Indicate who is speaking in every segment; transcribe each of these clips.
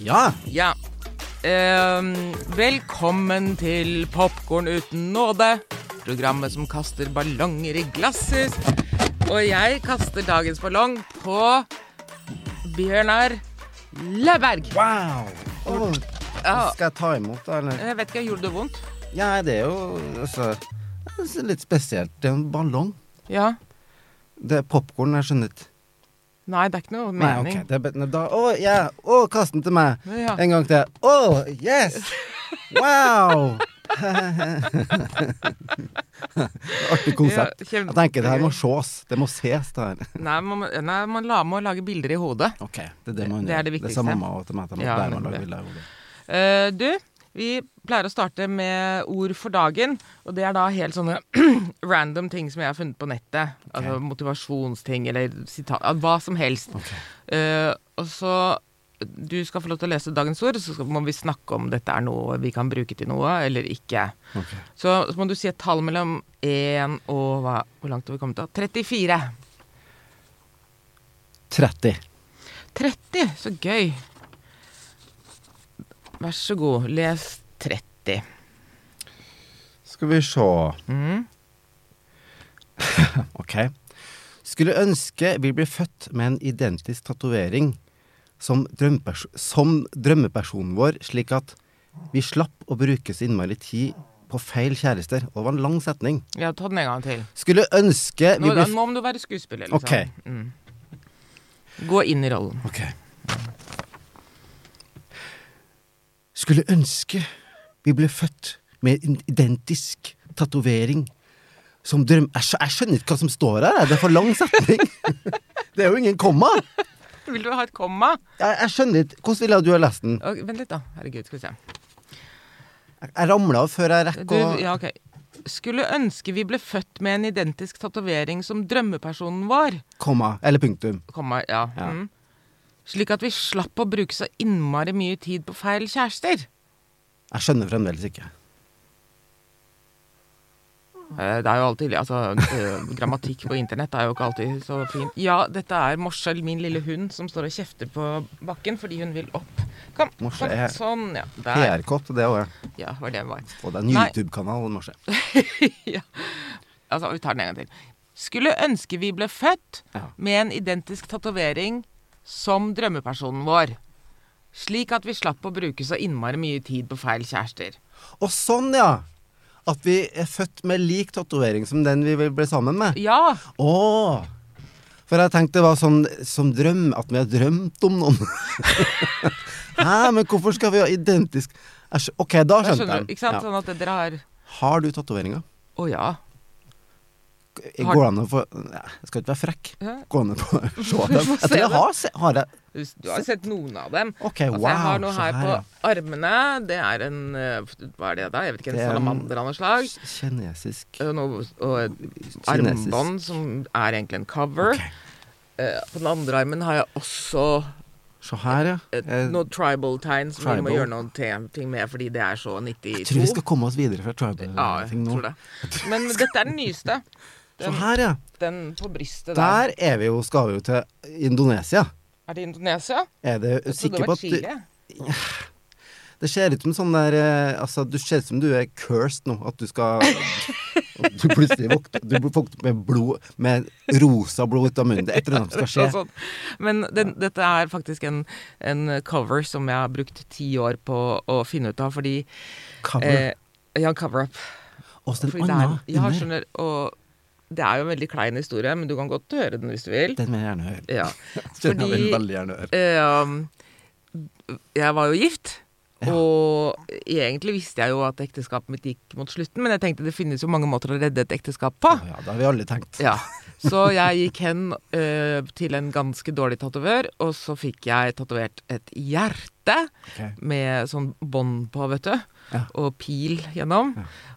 Speaker 1: Ja.
Speaker 2: Ja. Ehm, velkommen til Popkorn uten nåde. Programmet som kaster ballonger i glasshus. Og jeg kaster dagens ballong på Bjørnar Løberg.
Speaker 1: Wow. Åh,
Speaker 2: Ja,
Speaker 1: skal jeg ta imot, da, eller?
Speaker 2: jeg vet ikke, gjorde det vondt?
Speaker 1: Ja, det er jo altså det er litt spesielt. Det er en ballong.
Speaker 2: Ja.
Speaker 1: Det er popkorn, jeg skjønner ikke.
Speaker 2: Nei, det er ikke noe
Speaker 1: Nei,
Speaker 2: mening.
Speaker 1: ok, det er bedre- da, Å, ja. Å, kast den til meg.
Speaker 2: Ja.
Speaker 1: En gang til. Å, yes! Wow! Artig konsept.
Speaker 2: Ja, kjempe-
Speaker 1: Jeg tenker det her må sjås. Det må ses, det her.
Speaker 2: Nei, man, nei, man la med å lage bilder i hodet.
Speaker 1: Ok, Det er det man
Speaker 2: Det er
Speaker 1: gjør.
Speaker 2: det viktigste.
Speaker 1: sa mamma også til meg. til meg.
Speaker 2: Ja,
Speaker 1: Der man lager
Speaker 2: nemlig.
Speaker 1: bilder i hodet.
Speaker 2: Eh, du, vi pleier å starte med ord for dagen, og det er da helt sånne random ting som jeg har funnet på nettet. Altså motivasjonsting eller sitat, ah, hva som helst. Eh, og så du skal få lov til å lese dagens ord, så skal, må vi snakke om dette er noe vi kan bruke til noe, eller ikke.
Speaker 1: Ok.
Speaker 2: Så, så må du si et tall mellom 1 og hva, Hvor langt har vi kommet da? 34.
Speaker 1: 30.
Speaker 2: 30, så gøy. Vær så god, les 30.
Speaker 1: Skal vi se
Speaker 2: Mm.
Speaker 1: Ok. Skulle ønske vi ble født med en identisk tatovering som, drømmepers som drømmepersonen vår, slik at vi slapp å bruke så innmari tid på feil kjærester. Og det var en lang setning.
Speaker 2: Ja, ta den en gang til.
Speaker 1: Skulle ønske vi
Speaker 2: Nå,
Speaker 1: ble
Speaker 2: nå må du være skuespiller, liksom.
Speaker 1: Ok.
Speaker 2: Mm. Gå inn i rollen.
Speaker 1: Ok. Skulle ønske vi ble født med en identisk tatovering som drøm... Jeg, skjø- jeg skjønner ikke hva som står her. jeg. Det er for lang setning. Det er jo ingen komma. Jeg,
Speaker 2: Vil du ha et komma?
Speaker 1: jeg skjønner ikke Hvordan ville du ha lest den?
Speaker 2: Ok, vent litt, da. Herregud, skal vi se.
Speaker 1: Jeg- Jeg ramla av før jeg rekker
Speaker 2: Du,
Speaker 1: å
Speaker 2: ja, ok. Skulle ønske vi ble født med en identisk tatovering som drømmepersonen vår.
Speaker 1: komma eller punktum.
Speaker 2: Komma, ja.
Speaker 1: Ja.
Speaker 2: Mm. Slik at vi slapp å bruke så innmari mye tid på feil kjærester.
Speaker 1: Jeg skjønner fremdeles ikke.
Speaker 2: Eh, Det er jo alltid Altså, eh, grammatikk på internett er jo ikke alltid så fint. Ja, dette er Morsel, min lille hund, som står og kjefter på bakken fordi hun vil opp. Kom,
Speaker 1: Morse
Speaker 2: kom
Speaker 1: er-
Speaker 2: sånn. Ja, der.
Speaker 1: PR-kopp, det òg.
Speaker 2: Ja, var det den var.
Speaker 1: Og det er en
Speaker 2: Nei.
Speaker 1: YouTube-kanal. Morse.
Speaker 2: ja. Altså, vi tar den en gang til. Skulle ønske vi ble født
Speaker 1: Ja.
Speaker 2: med en identisk tatovering som drømmepersonen vår. Slik at vi slapp å bruke så innmari mye tid på feil kjærester.
Speaker 1: Og sånn, ja! At vi er født med lik tatovering som den vi ble sammen med.
Speaker 2: Ja!
Speaker 1: Åh For jeg tenkte det var sånn som drøm, at vi har drømt om noen. Hæ, men hvorfor skal vi ha identisk jeg skjø- Ok, da
Speaker 2: Da
Speaker 1: skjønte
Speaker 2: skjønner
Speaker 1: jeg.
Speaker 2: du. Ikke sant?
Speaker 1: Ja.
Speaker 2: Sånn at dere har
Speaker 1: Har du tatoveringer? eh,
Speaker 2: Å ja. Har-
Speaker 1: Går det an å få Nei, Jeg skal ikke være frekk.
Speaker 2: Hæ?
Speaker 1: Går det an å få se
Speaker 2: Vi
Speaker 1: dem?
Speaker 2: får
Speaker 1: Jeg
Speaker 2: se
Speaker 1: tror jeg
Speaker 2: dem.
Speaker 1: har, se, har jeg.
Speaker 2: Du, du har sett noen av dem.
Speaker 1: Ok,
Speaker 2: altså,
Speaker 1: wow.
Speaker 2: jeg har noe
Speaker 1: se
Speaker 2: her på
Speaker 1: ja.
Speaker 2: armene. Det er en eh, Hva er det da? Jeg vet ikke. En
Speaker 1: Det er en-
Speaker 2: salamander av noe slag.
Speaker 1: Kinesisk
Speaker 2: Og noe- og et
Speaker 1: Kinesisk.
Speaker 2: armbånd som er egentlig en cover.
Speaker 1: Ok.
Speaker 2: Eh, på den andre armen har jeg også
Speaker 1: Se her, ja.
Speaker 2: et,
Speaker 1: Jeg
Speaker 2: noen tribal-tegn som vi
Speaker 1: Eh, tribal.
Speaker 2: må gjøre noen te- ting med, fordi det er så 92.
Speaker 1: tror vi skal komme oss videre fra
Speaker 2: ja, jeg
Speaker 1: tribal-ting nå.
Speaker 2: tror det. Men dette er den nyeste.
Speaker 1: Se
Speaker 2: Den,
Speaker 1: her, ja.
Speaker 2: den på brystet der.
Speaker 1: Der er vi jo, skal vi jo til Indonesia.
Speaker 2: Er det Indonesia?
Speaker 1: Er du
Speaker 2: Jeg trodde
Speaker 1: sikker
Speaker 2: det
Speaker 1: på
Speaker 2: var
Speaker 1: at du-
Speaker 2: Chile.
Speaker 1: Det ser ut som sånn der eh, Altså, du ser ut som du er cursed nå. At du skal at Du plutselig våkner Du blir våknet med blod Med rosa blod ut av munnen. Det er et eller annet som skal skje.
Speaker 2: Sånn. Men den, dette er faktisk en, en cover som jeg har brukt ti år på å finne ut av, fordi
Speaker 1: Cover.
Speaker 2: eh, Ja, cover up.
Speaker 1: Og så
Speaker 2: Fordi
Speaker 1: den
Speaker 2: det er,
Speaker 1: andre.
Speaker 2: ja,
Speaker 1: under.
Speaker 2: skjønner, og det er jo en veldig klein historie, men du kan godt høre den hvis du vil.
Speaker 1: Den vil jeg gjerne høre.
Speaker 2: Ja.
Speaker 1: Den vil jeg
Speaker 2: Eh, Fordi-
Speaker 1: veldig gjerne høre.
Speaker 2: Ehm, jeg var jo gift, og egentlig visste jeg jo at ekteskapet mitt gikk mot slutten, men jeg tenkte det finnes jo mange måter å redde et ekteskap på.
Speaker 1: Å ja, det har vi alle tenkt.
Speaker 2: Ja. Så jeg gikk hen eh, til en ganske dårlig tatovør, og så fikk jeg tatovert et hjerte
Speaker 1: Ok.
Speaker 2: med sånn bånd på, vet du,
Speaker 1: Ja.
Speaker 2: og pil gjennom.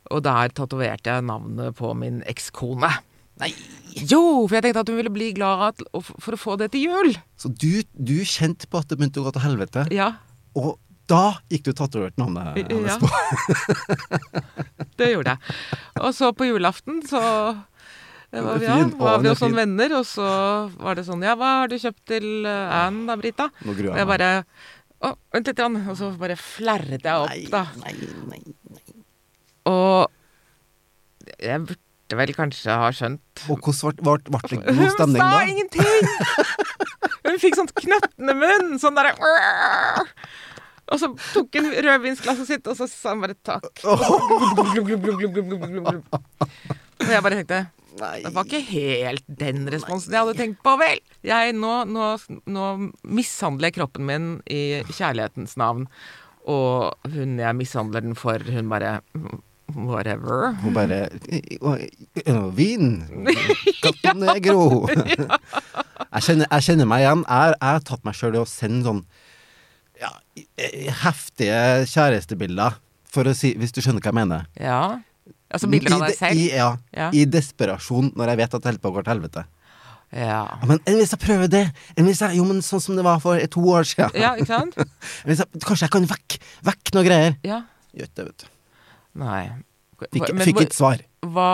Speaker 2: Og der tatoverte jeg navnet på min ekskone. Nei! Jo, for jeg tenkte at hun ville bli glad at- og f- for å få det til jul.
Speaker 1: Så du, du kjente på at det begynte å gå til helvete,
Speaker 2: Ja,
Speaker 1: og da gikk du tatovert eh, navnet hennes
Speaker 2: Ja.
Speaker 1: på.
Speaker 2: det gjorde jeg. Og så på julaften så det var,
Speaker 1: Det er
Speaker 2: ja,
Speaker 1: fint. Å,
Speaker 2: var vi
Speaker 1: det er
Speaker 2: jo sånn
Speaker 1: fint.
Speaker 2: venner, og så var det sånn Ja, hva har du kjøpt til eh, Ann da, Brita?
Speaker 1: Nå gruer
Speaker 2: Og
Speaker 1: jeg
Speaker 2: jeg
Speaker 1: meg.
Speaker 2: bare Å, vent litt, grann», og så bare flerret jeg opp, da.
Speaker 1: Nei, nei, nei.
Speaker 2: Og jeg burde vel kanskje ha skjønt
Speaker 1: Og hvordan ble det
Speaker 2: Hun
Speaker 1: god stemning
Speaker 2: sa
Speaker 1: da?
Speaker 2: ingenting! Hun fikk sånn knøttende munn, sånn derre Og så tok hun rødvinsglasset sitt, og så sa hun bare takk. Glubb, glubb, glubb, glubb, glubb, glubb, glubb. Og jeg bare tenkte
Speaker 1: Nei.
Speaker 2: det var ikke helt den responsen jeg hadde tenkt på, vel! Jeg, nå, nå, nå mishandler jeg kroppen min i kjærlighetens navn. Og hun jeg mishandler den for, hun bare Whatever.
Speaker 1: Hun bare «Å, å, Vin! Cato Negro! jeg, kjenner, jeg kjenner meg igjen. Jeg jeg har tatt meg sjøl i å sende sånn ja, eh, heftige kjærestebilder, for å si, hvis du skjønner hva jeg mener.
Speaker 2: Ja. Altså bilder av
Speaker 1: I
Speaker 2: deg
Speaker 1: de-
Speaker 2: selv?
Speaker 1: I, ja,
Speaker 2: Ja.
Speaker 1: I desperasjon når jeg vet at det holder på å gå til helvete.
Speaker 2: Ja.
Speaker 1: Ja, men enn hvis jeg prøver det? Enn hvis jeg, jo, men sånn som det var for to år siden?
Speaker 2: ja, ikke sant?
Speaker 1: Enn Hvis jeg, kanskje jeg kan vekke vekk noe greier?
Speaker 2: Ja.
Speaker 1: Gjør ikke det, vet du.
Speaker 2: Nei.
Speaker 1: Fikk,
Speaker 2: Men
Speaker 1: fikk
Speaker 2: hvor-
Speaker 1: ikke svar.
Speaker 2: hva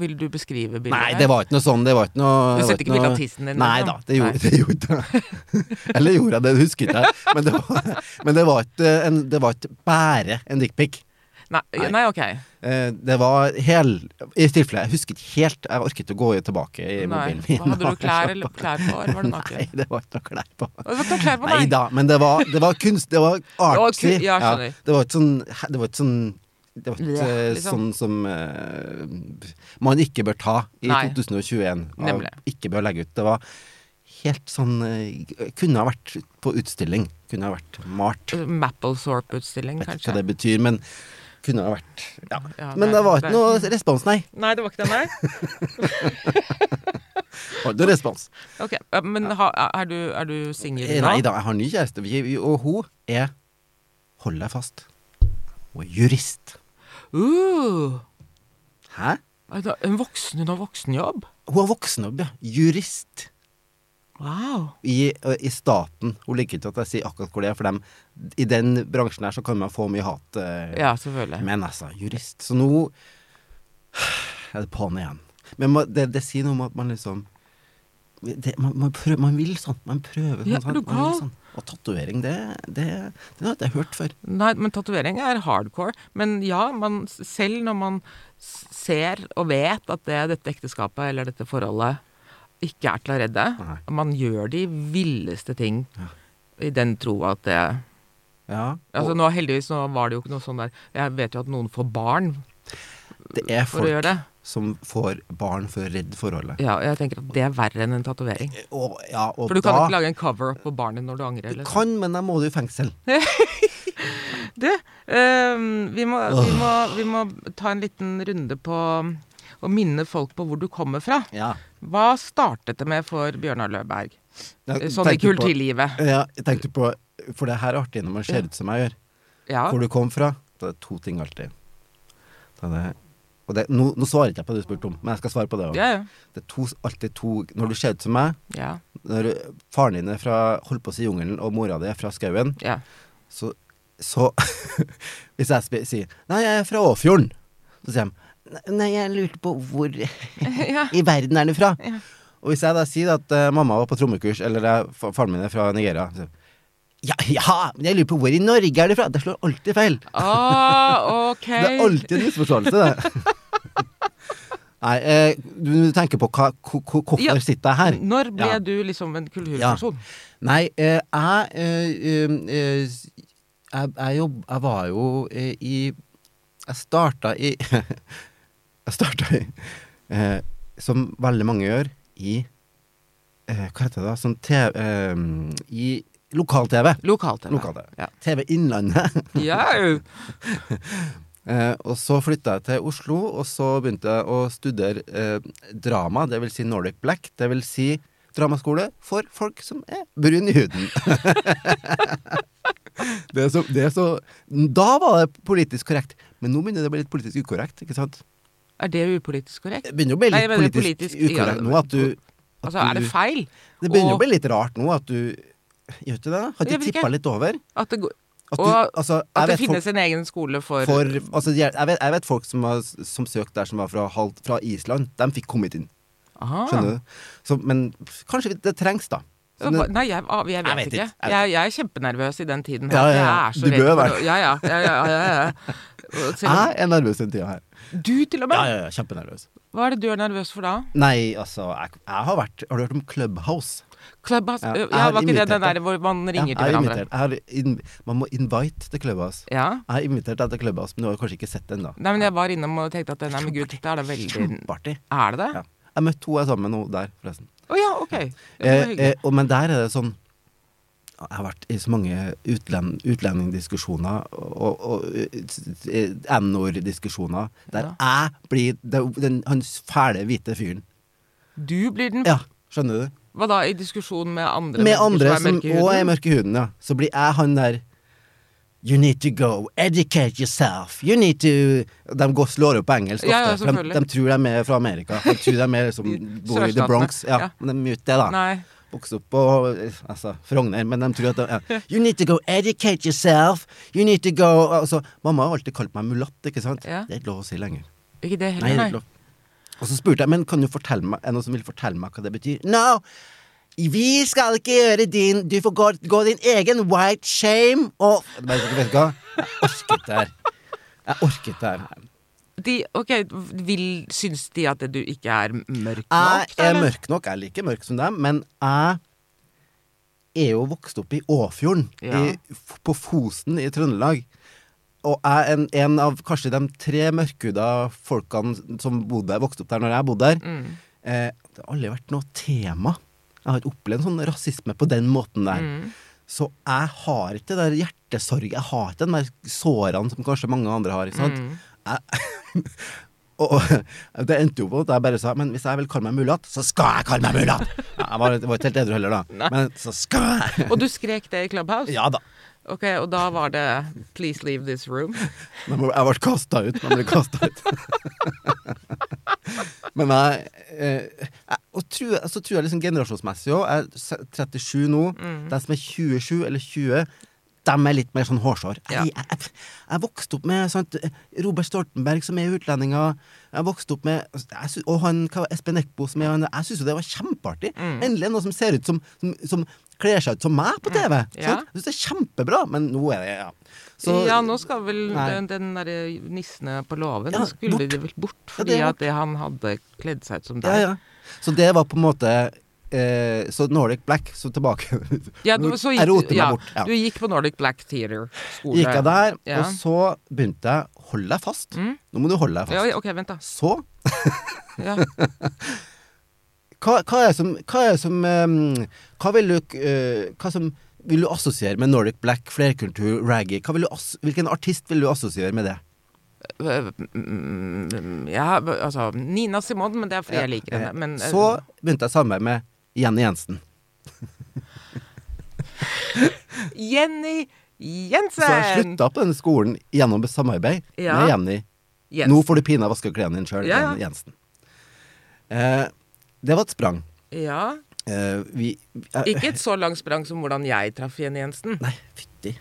Speaker 2: vil du beskrive bildet
Speaker 1: Nei, det var ikke noe sånn. Det var ikke noe
Speaker 2: Du
Speaker 1: det var
Speaker 2: sendte ikke bilde av
Speaker 1: noe-
Speaker 2: tissen din?
Speaker 1: Nei
Speaker 2: liksom?
Speaker 1: da, det gjorde, det gjorde jeg. Eller gjorde jeg det, det husker ikke jeg. Men det var, men det var, ikke, en, det var ikke bare en dickpic.
Speaker 2: Nei,
Speaker 1: Nei.
Speaker 2: nei, ok.
Speaker 1: Eh, Det var hel I tilfelle, jeg husker ikke helt. Jeg orket ikke å gå tilbake i
Speaker 2: Nei.
Speaker 1: mobilen min.
Speaker 2: Hadde du klær, eller, klær på, eller var du
Speaker 1: Nei,
Speaker 2: naken?
Speaker 1: det var ikke noe klær på.
Speaker 2: Å, Du var ikke klær på,
Speaker 1: Nei da, men det var, det var kunst. Det var artsy.
Speaker 2: Det var ku- ja, skjønner.
Speaker 1: det var ikke sånn Det var ikke sånn det var ikke
Speaker 2: Ja, liksom.
Speaker 1: sånn som eh, man ikke bør ta i
Speaker 2: Nei.
Speaker 1: 2021. og
Speaker 2: Nemlig.
Speaker 1: Ikke bør legge ut. Det var helt sånn eh, Kunne ha vært på utstilling. Kunne ha vært malt.
Speaker 2: Mapplethorpe-utstilling,
Speaker 1: Vet ikke hva
Speaker 2: kanskje?
Speaker 1: det betyr, men kunne ha vært ja.
Speaker 2: Ja, det er-
Speaker 1: Men det var
Speaker 2: det
Speaker 1: ikke
Speaker 2: er-
Speaker 1: noe respons, nei.
Speaker 2: Nei, det var ikke den der?
Speaker 1: Det var ikke noe respons.
Speaker 2: Ok, ja, Men ha, er du, er du singel nå?
Speaker 1: Eh, Nei da, jeg har ny kjæreste, vi- vi- og hun er Hold deg fast. Hun er jurist.
Speaker 2: Uh,
Speaker 1: Hæ?
Speaker 2: er det en voksen, hun har voksenjobb?
Speaker 1: Hun er voksenjobb, ja. Jurist
Speaker 2: Wow.
Speaker 1: i, i staten. Hun liker ikke at jeg sier akkurat hvor det er, for dem. i den bransjen her så kan man få mye hat. eh,
Speaker 2: Ja, selvfølgelig.
Speaker 1: Men altså, jurist. Så nå er det på'n igjen. Men man, det, det sier noe om at man liksom det, man, man, prøver, man vil sånn. Man prøver
Speaker 2: Ja,
Speaker 1: sånn.
Speaker 2: er du
Speaker 1: sant? Man vil
Speaker 2: gal?
Speaker 1: sånn. Og tatovering, det, det, det har jeg ikke hørt før.
Speaker 2: Nei, men tatovering er hardcore. Men ja, man, selv når man s- ser og vet at det, dette ekteskapet eller dette forholdet ikke er til å redde,
Speaker 1: Nei.
Speaker 2: man gjør de villeste ting
Speaker 1: Ja.
Speaker 2: i den tro at det
Speaker 1: Ja,
Speaker 2: Altså nå heldigvis nå var det jo ikke noe sånn der Jeg vet jo at noen får barn
Speaker 1: og det er
Speaker 2: for å gjøre
Speaker 1: folk
Speaker 2: det.
Speaker 1: som får barn for å redde forholdet.
Speaker 2: Ja, og jeg tenker at det er verre enn en tatovering.
Speaker 1: Og, ja, og
Speaker 2: For du kan
Speaker 1: da
Speaker 2: ikke lage en cover-up på barnet når du angrer.
Speaker 1: Du
Speaker 2: Eller sånn.
Speaker 1: kan, men da må du i fengsel.
Speaker 2: Du, ehm, vi, må, vi, må, vi må ta en liten runde på å minne folk på hvor du kommer fra.
Speaker 1: Ja.
Speaker 2: Hva startet det med for Bjørnar Løberg?
Speaker 1: Ja,
Speaker 2: Sånn i
Speaker 1: tenker på-
Speaker 2: kulturlivet.
Speaker 1: Ja, jeg tenkte på For det her er artig når man ser ut som jeg gjør.
Speaker 2: Ja.
Speaker 1: Hvor du kom fra. Da er det to ting alltid. Da er det, og det, nå, nå svarer ikke jeg på det du spurte om, men jeg skal svare på det òg.
Speaker 2: Ja, ja.
Speaker 1: Det er to, alltid to Når du ser ut som meg,
Speaker 2: ja,
Speaker 1: når faren din er fra holdt på å si jungelen, og mora di er fra skauen,
Speaker 2: ja.
Speaker 1: så, så Hvis jeg sp- sier 'Nei, jeg er fra Åfjorden', så sier de 'Nei, jeg lurte på hvor
Speaker 2: ja.
Speaker 1: i verden er du fra?'
Speaker 2: Ja.
Speaker 1: Og hvis jeg da sier at eh, mamma var på trommekurs, eller eh, fa- faren min er fra Nigeria så, ja, ja, men jeg lurer på hvor i Norge er du fra? Det slår alltid feil.
Speaker 2: Ah, ok.
Speaker 1: Det er alltid en misforståelse, det. Nei, eh, du, du tenker på hva, ko- ko- hvorfor
Speaker 2: Ja.
Speaker 1: sitter jeg her?
Speaker 2: Når ble
Speaker 1: Ja.
Speaker 2: du liksom en kulturperson?
Speaker 1: Nei, eh, jeg, eh, um, eh, s- jeg jeg, jobb, jeg var jo eh, i Jeg starta i Jeg starta i eh, Som veldig mange gjør, i eh, Hva heter det da? Som TV eh, I lokal-TV.
Speaker 2: Lokal-TV.
Speaker 1: Lokal-TV.
Speaker 2: Ja.
Speaker 1: TV Innlandet.
Speaker 2: Ja.
Speaker 1: Eh, og så flytta jeg til Oslo, og så begynte jeg å studere eh, drama, det vil si Nordic Black. Det vil si dramaskole for folk som er brune i huden. det er så, det er så, da var det politisk korrekt, men nå begynner det å bli litt politisk ukorrekt. ikke sant?
Speaker 2: Er det upolitisk korrekt?
Speaker 1: Det begynner å bli
Speaker 2: Nei,
Speaker 1: litt
Speaker 2: jeg mener
Speaker 1: politisk,
Speaker 2: politisk- ja,
Speaker 1: ukorrekt nå at du at
Speaker 2: Altså, er det
Speaker 1: du-
Speaker 2: feil?
Speaker 1: Det begynner
Speaker 2: Og-
Speaker 1: å bli litt rart nå at du Gjør ikke det? da? Har
Speaker 2: Jeg
Speaker 1: ikke
Speaker 2: vet ikke.
Speaker 1: tippa litt over?
Speaker 2: At det, går-
Speaker 1: At, du,
Speaker 2: Og
Speaker 1: altså, jeg
Speaker 2: at det
Speaker 1: vet folk-
Speaker 2: finnes en egen skole for,
Speaker 1: For, altså, jeg, jeg, vet, jeg vet folk som, har, som søkte der som var fra, halv- fra Island. De fikk kommet inn.
Speaker 2: Aha.
Speaker 1: Skjønner du? Så, men kanskje vi- det trengs, da. Så det-
Speaker 2: Nei, jeg, ah, jeg vet,
Speaker 1: Jeg vet
Speaker 2: ikke.
Speaker 1: ikke. Jeg vet
Speaker 2: Jeg, jeg er kjempenervøs i den tiden. her.
Speaker 1: Ja, ja,
Speaker 2: Jeg
Speaker 1: ja.
Speaker 2: er så
Speaker 1: Du
Speaker 2: redd
Speaker 1: bør
Speaker 2: for
Speaker 1: være
Speaker 2: å- Ja, ja. ja, ja, ja, ja, ja. Selv om-
Speaker 1: Jeg er nervøs den tida her.
Speaker 2: Du til og med?
Speaker 1: Ja, ja, ja, kjempenervøs.
Speaker 2: Hva er det du er nervøs for da?
Speaker 1: Nei, altså, jeg, jeg har vært Har du hørt om Clubhouse?
Speaker 2: Clubhouse?
Speaker 1: Ja,
Speaker 2: Ja,
Speaker 1: jeg har
Speaker 2: var ikke det den
Speaker 1: invitert deg.
Speaker 2: der hvor man ringer
Speaker 1: Ja,
Speaker 2: til
Speaker 1: jeg er
Speaker 2: hverandre?
Speaker 1: invitert. Jeg har in, man må invite til Clubhouse.
Speaker 2: Ja.
Speaker 1: Jeg har invitert deg til Clubhouse, men du har kanskje ikke sett det ennå.
Speaker 2: Nei, men jeg var innom og tenkte at nei, men gud, det er da veldig
Speaker 1: Kjempeartig.
Speaker 2: Er det det?
Speaker 1: Ja. Jeg møtte to jeg er sammen med nå der, forresten.
Speaker 2: Å ja, ok. Ja, det var
Speaker 1: Eh,
Speaker 2: hyggelig.
Speaker 1: eh, og, men der er det sånn Jeg har vært i så mange utlend, utlendingdiskusjoner og, og eh, n-ord-diskusjoner der jeg blir det, den, han fæle, hvite fyren.
Speaker 2: Du blir den
Speaker 1: eh, Ja, skjønner du?
Speaker 2: Hva da, i diskusjon med andre
Speaker 1: Med
Speaker 2: mennesker
Speaker 1: andre som
Speaker 2: mørke i
Speaker 1: òg er
Speaker 2: huden?
Speaker 1: mørke i huden, ja. Så blir jeg han der You need to go, educate yourself, you need to De går, slår jo på engelsk ofte.
Speaker 2: Ja, ja,
Speaker 1: for de,
Speaker 2: selvfølgelig.
Speaker 1: de tror de er fra Amerika. De tror de er liksom,
Speaker 2: I
Speaker 1: bor i The
Speaker 2: sørstatene.
Speaker 1: Bronx. Ja,
Speaker 2: Ja.
Speaker 1: Men de er ute, da.
Speaker 2: Nei.
Speaker 1: Vokste opp på eh, altså, Frogner, men de tror at de, ja. You need to go educate yourself, you need to go altså, Mamma har alltid kalt meg mulatt, ikke sant?
Speaker 2: Ja.
Speaker 1: Det er ikke lov å si lenger.
Speaker 2: Ikke det
Speaker 1: Nei, det
Speaker 2: heller,
Speaker 1: er ikke
Speaker 2: nei.
Speaker 1: lov. Og så spurte jeg, men kan du fortelle meg, er det noen som vil fortelle meg hva det betyr? No! Vi skal ikke gjøre din Du får gå, gå din egen white shame og Jeg vet ikke, vet du hva? Jeg orket det her. Jeg orket det her.
Speaker 2: De, ok, vil, Syns de at du ikke er mørk nok?
Speaker 1: Jeg er
Speaker 2: eller?
Speaker 1: mørk nok. Jeg er like mørk som dem, men jeg er jo vokst opp i Åfjorden,
Speaker 2: Ja.
Speaker 1: i, f- på Fosen i Trøndelag. Og jeg er en, en av kanskje de tre mørkhuda folkene som bodde, vokste opp der når jeg bodde der.
Speaker 2: Mm.
Speaker 1: Eh, det har aldri vært noe tema. Jeg har ikke opplevd sånn rasisme på den måten der.
Speaker 2: Mm.
Speaker 1: Så jeg har ikke det der hjertesorg, jeg har ikke den der sårene som kanskje mange andre har. Ikke sant?
Speaker 2: Mm.
Speaker 1: Og, og det endte jo på at jeg bare sa Men hvis jeg vil kalle meg mulatt, så skal jeg kalle meg mulatt! Ja, Jeg var, var ikke helt edru heller, da. Men så skal jeg!
Speaker 2: Og du skrek det i Clubhouse?
Speaker 1: Ja da.
Speaker 2: Ok, Og da var det 'Please leave this room'?
Speaker 1: Men Jeg ble- jeg ble kasta ut. Man ble kastet ut. Men jeg, eh, jeg og tror, Så tror jeg liksom generasjonsmessig òg. Jeg er 37 nå.
Speaker 2: Mm.
Speaker 1: De som er 27 eller 20, de er litt mer sånn hårsår.
Speaker 2: Ja.
Speaker 1: Jeg, jeg, jeg vokste opp med sant, Robert Stoltenberg, som er utlendinger. Jeg vokste opp med altså, jeg sy- Og han hva, Espen Eckbo, som er han Jeg syns jo det var kjempeartig.
Speaker 2: Mm.
Speaker 1: Endelig noe som ser ut som, som, som kler seg ut som meg på TV. sant?
Speaker 2: Ja.
Speaker 1: Jeg syns det er kjempebra, men nå er det ja. Så-
Speaker 2: ja, nå skal vel
Speaker 1: Nei.
Speaker 2: den, den derre nissene på låven
Speaker 1: Ja,
Speaker 2: Skulle
Speaker 1: bort.
Speaker 2: de vel bort
Speaker 1: Ja,
Speaker 2: fordi
Speaker 1: det er
Speaker 2: at det han hadde kledd seg ut som
Speaker 1: Ja,
Speaker 2: deg?
Speaker 1: ja. Så det var på en måte eh, Så Nordic Black, så tilbake.
Speaker 2: Ja, du, så gikk,
Speaker 1: jeg roter meg
Speaker 2: ja,
Speaker 1: bort. Ja.
Speaker 2: Du gikk på Nordic Black Theater skole.
Speaker 1: Gikk jeg der,
Speaker 2: Ja. Mm.
Speaker 1: og så begynte jeg Hold deg fast. Nå må du holde deg
Speaker 2: Ja,
Speaker 1: fast.
Speaker 2: ok, vent, da.
Speaker 1: Så
Speaker 2: Ja.
Speaker 1: hva, hva er det som, hva, er det som eh, hva vil du eh, Hva som vil du assosiere med Nordic Black, flerkultur, raggy? Hva vil du ass hvilken artist vil du assosiere med det?
Speaker 2: Mm, ja, altså Nina Simone, men det er fordi jeg liker henne.
Speaker 1: Eh,
Speaker 2: Men, eh,
Speaker 1: så begynte jeg samarbeid med Jenny Jensen.
Speaker 2: Jenny Jensen!
Speaker 1: Så jeg slutta på denne skolen gjennom samarbeid
Speaker 2: Ja.
Speaker 1: med Jenny
Speaker 2: Yes.
Speaker 1: Nå får du pinadø vaske klærne dine sjøl,
Speaker 2: Ja, ja.
Speaker 1: Jensen. Eh, det var et sprang.
Speaker 2: Ja.
Speaker 1: Eh, vi eh,
Speaker 2: Ikke et så langt sprang som hvordan jeg traff Jenny Jensen.
Speaker 1: Nei, fytti.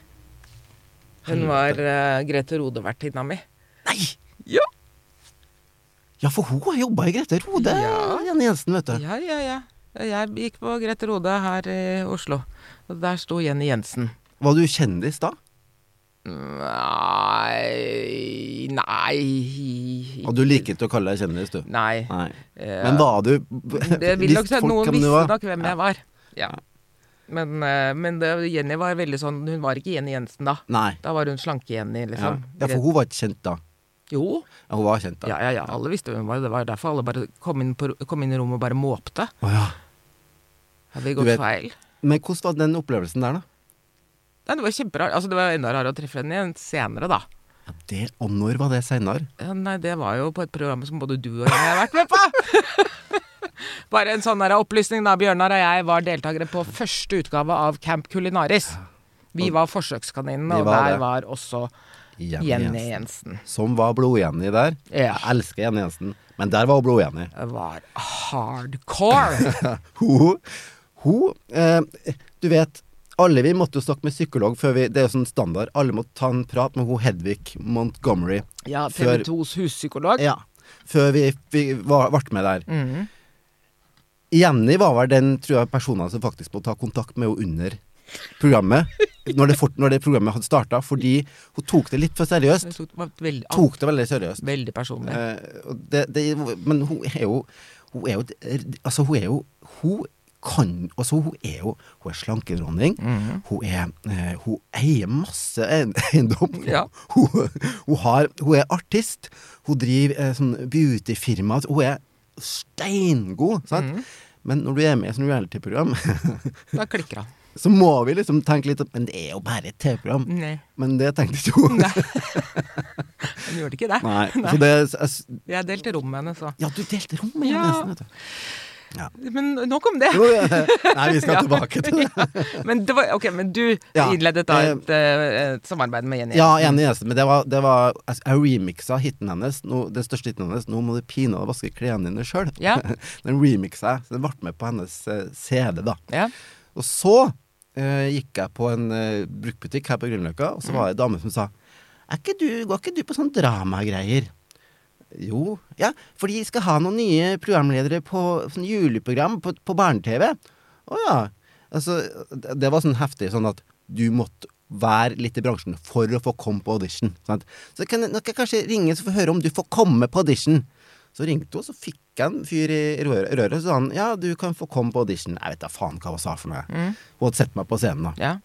Speaker 2: Hun var eh, Grete Rode-vertinna mi.
Speaker 1: Nei!
Speaker 2: Ja.
Speaker 1: Ja, for hun har jobba i Grete Rode,
Speaker 2: Ja.
Speaker 1: Jenny Jensen, vet du.
Speaker 2: ja, ja, ja. Jeg gikk på Grete Rode her i Oslo. Og der sto Jenny Jensen.
Speaker 1: Var du kjendis da?
Speaker 2: Nei Nei.
Speaker 1: Og du liker ikke å kalle deg kjendis, du.
Speaker 2: Nei.
Speaker 1: Nei.
Speaker 2: Eh,
Speaker 1: Men var du
Speaker 2: Det vil nok
Speaker 1: visste
Speaker 2: si at
Speaker 1: folk
Speaker 2: noen
Speaker 1: hvem du
Speaker 2: visste
Speaker 1: var?
Speaker 2: nok hvem jeg var. Ja. Men, eh, men det, Jenny var veldig sånn Hun var ikke Jenny Jensen da.
Speaker 1: Nei.
Speaker 2: Da var hun slanke-Jenny,
Speaker 1: Ja.
Speaker 2: liksom.
Speaker 1: ja, for hun var ikke kjent da.
Speaker 2: Jo.
Speaker 1: Ja, hun var kjent da.
Speaker 2: Ja, ja, ja. Alle visste hvem hun var. Det var derfor alle bare kom inn, på, kom inn i rommet og bare måpte.
Speaker 1: Å, ja.
Speaker 2: Hadde vi
Speaker 1: Du
Speaker 2: gått
Speaker 1: vet-
Speaker 2: feil?
Speaker 1: Men hvordan var den opplevelsen der, da?
Speaker 2: Nei, det var kjemperart. Altså, det var enda rarere å treffe henne igjen senere, da.
Speaker 1: Ja, det, og når var det seinere?
Speaker 2: Ja, Nei, det var jo på et program som både du og jeg har vært med på. Bare en sånn der opplysning, da. Bjørnar og jeg var deltakere på første utgave av Camp Culinaris. Vi var forsøkskaninene,
Speaker 1: Vi
Speaker 2: og
Speaker 1: var
Speaker 2: der
Speaker 1: det.
Speaker 2: var også
Speaker 1: Jenny
Speaker 2: Jenny Jensen.
Speaker 1: Som var Blod-Jenny der.
Speaker 2: Ja.
Speaker 1: Jeg elsker Jenny Jensen, men der var hun Blod-Jenny.
Speaker 2: Det var hardcore.
Speaker 1: Hun, hun eh, Du vet, alle vi måtte jo snakke med psykolog før vi Det er jo sånn standard. Alle må ta en prat med hun Hedvig Montgomery.
Speaker 2: Ja,
Speaker 1: Før-
Speaker 2: TV 2s huspsykolog.
Speaker 1: Ja. Før vi, vi var, ble med der. Jenny var vel den tror jeg, personen som faktisk måtte ta kontakt med henne under programmet. Når det, fort, når det programmet hadde starta, fordi hun tok det litt for seriøst.
Speaker 2: Det tok- var veldig,
Speaker 1: Tok det veldig seriøst.
Speaker 2: veldig personlig.
Speaker 1: Eh, og det, det, men hun er jo Hun er jo et- Altså, hun er jo Hun kan Altså, hun er jo Hun er slankedronning.
Speaker 2: Mhm.
Speaker 1: Hun er eh, Hun eier masse eiend- eiendom.
Speaker 2: Ja.
Speaker 1: Hun, hun, har, hun er artist. Hun driver eh, sånn beautyfirma. Altså, Hun er steingod. Sant?
Speaker 2: Mhm.
Speaker 1: Men når du er med i et sånt reality-program,
Speaker 2: Da klikker han.
Speaker 1: så må vi liksom tenke litt at, Men det er jo bare et TV-program.
Speaker 2: Nei,
Speaker 1: Men det tenkte ikke hun.
Speaker 2: Nei. han gjorde ikke det.
Speaker 1: Nei. Så det jeg,
Speaker 2: Jeg delte rom med henne, så.
Speaker 1: Ja, du delte rom med
Speaker 2: Ja.
Speaker 1: Jenny Nesten, vet du.
Speaker 2: Men nok om det.
Speaker 1: Jo, ja. Nei, vi skal
Speaker 2: Ja.
Speaker 1: tilbake til det.
Speaker 2: Men, det var, ok, men du
Speaker 1: Ja,
Speaker 2: innledet da
Speaker 1: eh,
Speaker 2: et, eh, et samarbeid med Jenny.
Speaker 1: Ja, enig i det, men det var, det var altså, Jeg remixa hiten hennes, nå, den største hiten hennes. Nå må du pinadø vaske klærne dine sjøl.
Speaker 2: Ja.
Speaker 1: Den remixa jeg, så den ble med på hennes eh, CD, da.
Speaker 2: Ja.
Speaker 1: Og så eh, gikk jeg på en eh, bruktbutikk her på Grünerløkka,
Speaker 2: Mm.
Speaker 1: og så var det ei dame som sa er ikke du, Går ikke du på sånn dramagreier? Jo, ja, fordi de skal ha noen nye programledere på sånn juleprogram på, på barne-TV. Å ja. Altså, det det var sånn heftig sånn at du måtte være litt i bransjen for å få komme på audition. Sant? Så kan, nå kan jeg kanskje ringe og høre om du får komme på audition. Så ringte hun, så fikk jeg en fyr i røret, røret og så sa han ja, du kan få komme på audition. Jeg vet da faen hva hun sa for noe. Hun hadde sett meg på scenen da.
Speaker 2: ja.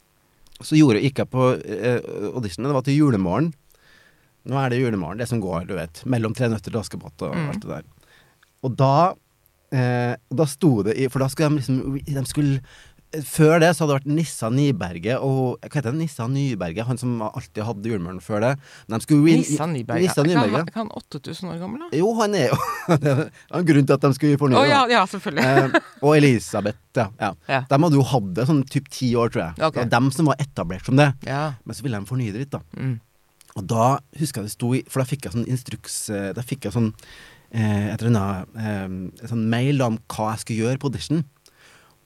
Speaker 1: Så gjorde, gikk jeg på eh, auditionen, det var til julemorgen. Nå er det julemorgen, det som går, du vet. Mellom Tre nøtter til Askepott
Speaker 2: Mm.
Speaker 1: og alt det der. Og da, eh, og da sto det i For da skulle de liksom de skulle, eh, Før det så hadde det vært Nissa Nyberget og Hva heter det? Nissa Nyberget? Han som alltid hadde julemorgen før det. Men De skulle,
Speaker 2: Nissa Nyberg. ja.
Speaker 1: Nissa
Speaker 2: Er ikke han-
Speaker 1: Nyberget.
Speaker 2: Er ikke han 8000 år gammel, da?
Speaker 1: Jo, han er jo Det er en grunn til at de skulle
Speaker 2: Å
Speaker 1: fornye.
Speaker 2: ja,
Speaker 1: da.
Speaker 2: ja, selvfølgelig.
Speaker 1: Eh, og Elisabeth, ja. ja.
Speaker 2: Ja.
Speaker 1: De hadde jo hatt det sånn typ ti år, tror jeg.
Speaker 2: Ok.
Speaker 1: Det var dem som var etablert som det.
Speaker 2: Ja.
Speaker 1: Men så ville de fornye det litt, da.
Speaker 2: Mm.
Speaker 1: Og da husker jeg det sto i For da fikk jeg sånn instruks eh, Da fikk jeg sånn eh, et eller annet eh, en sånn mail om hva jeg skulle gjøre på audition.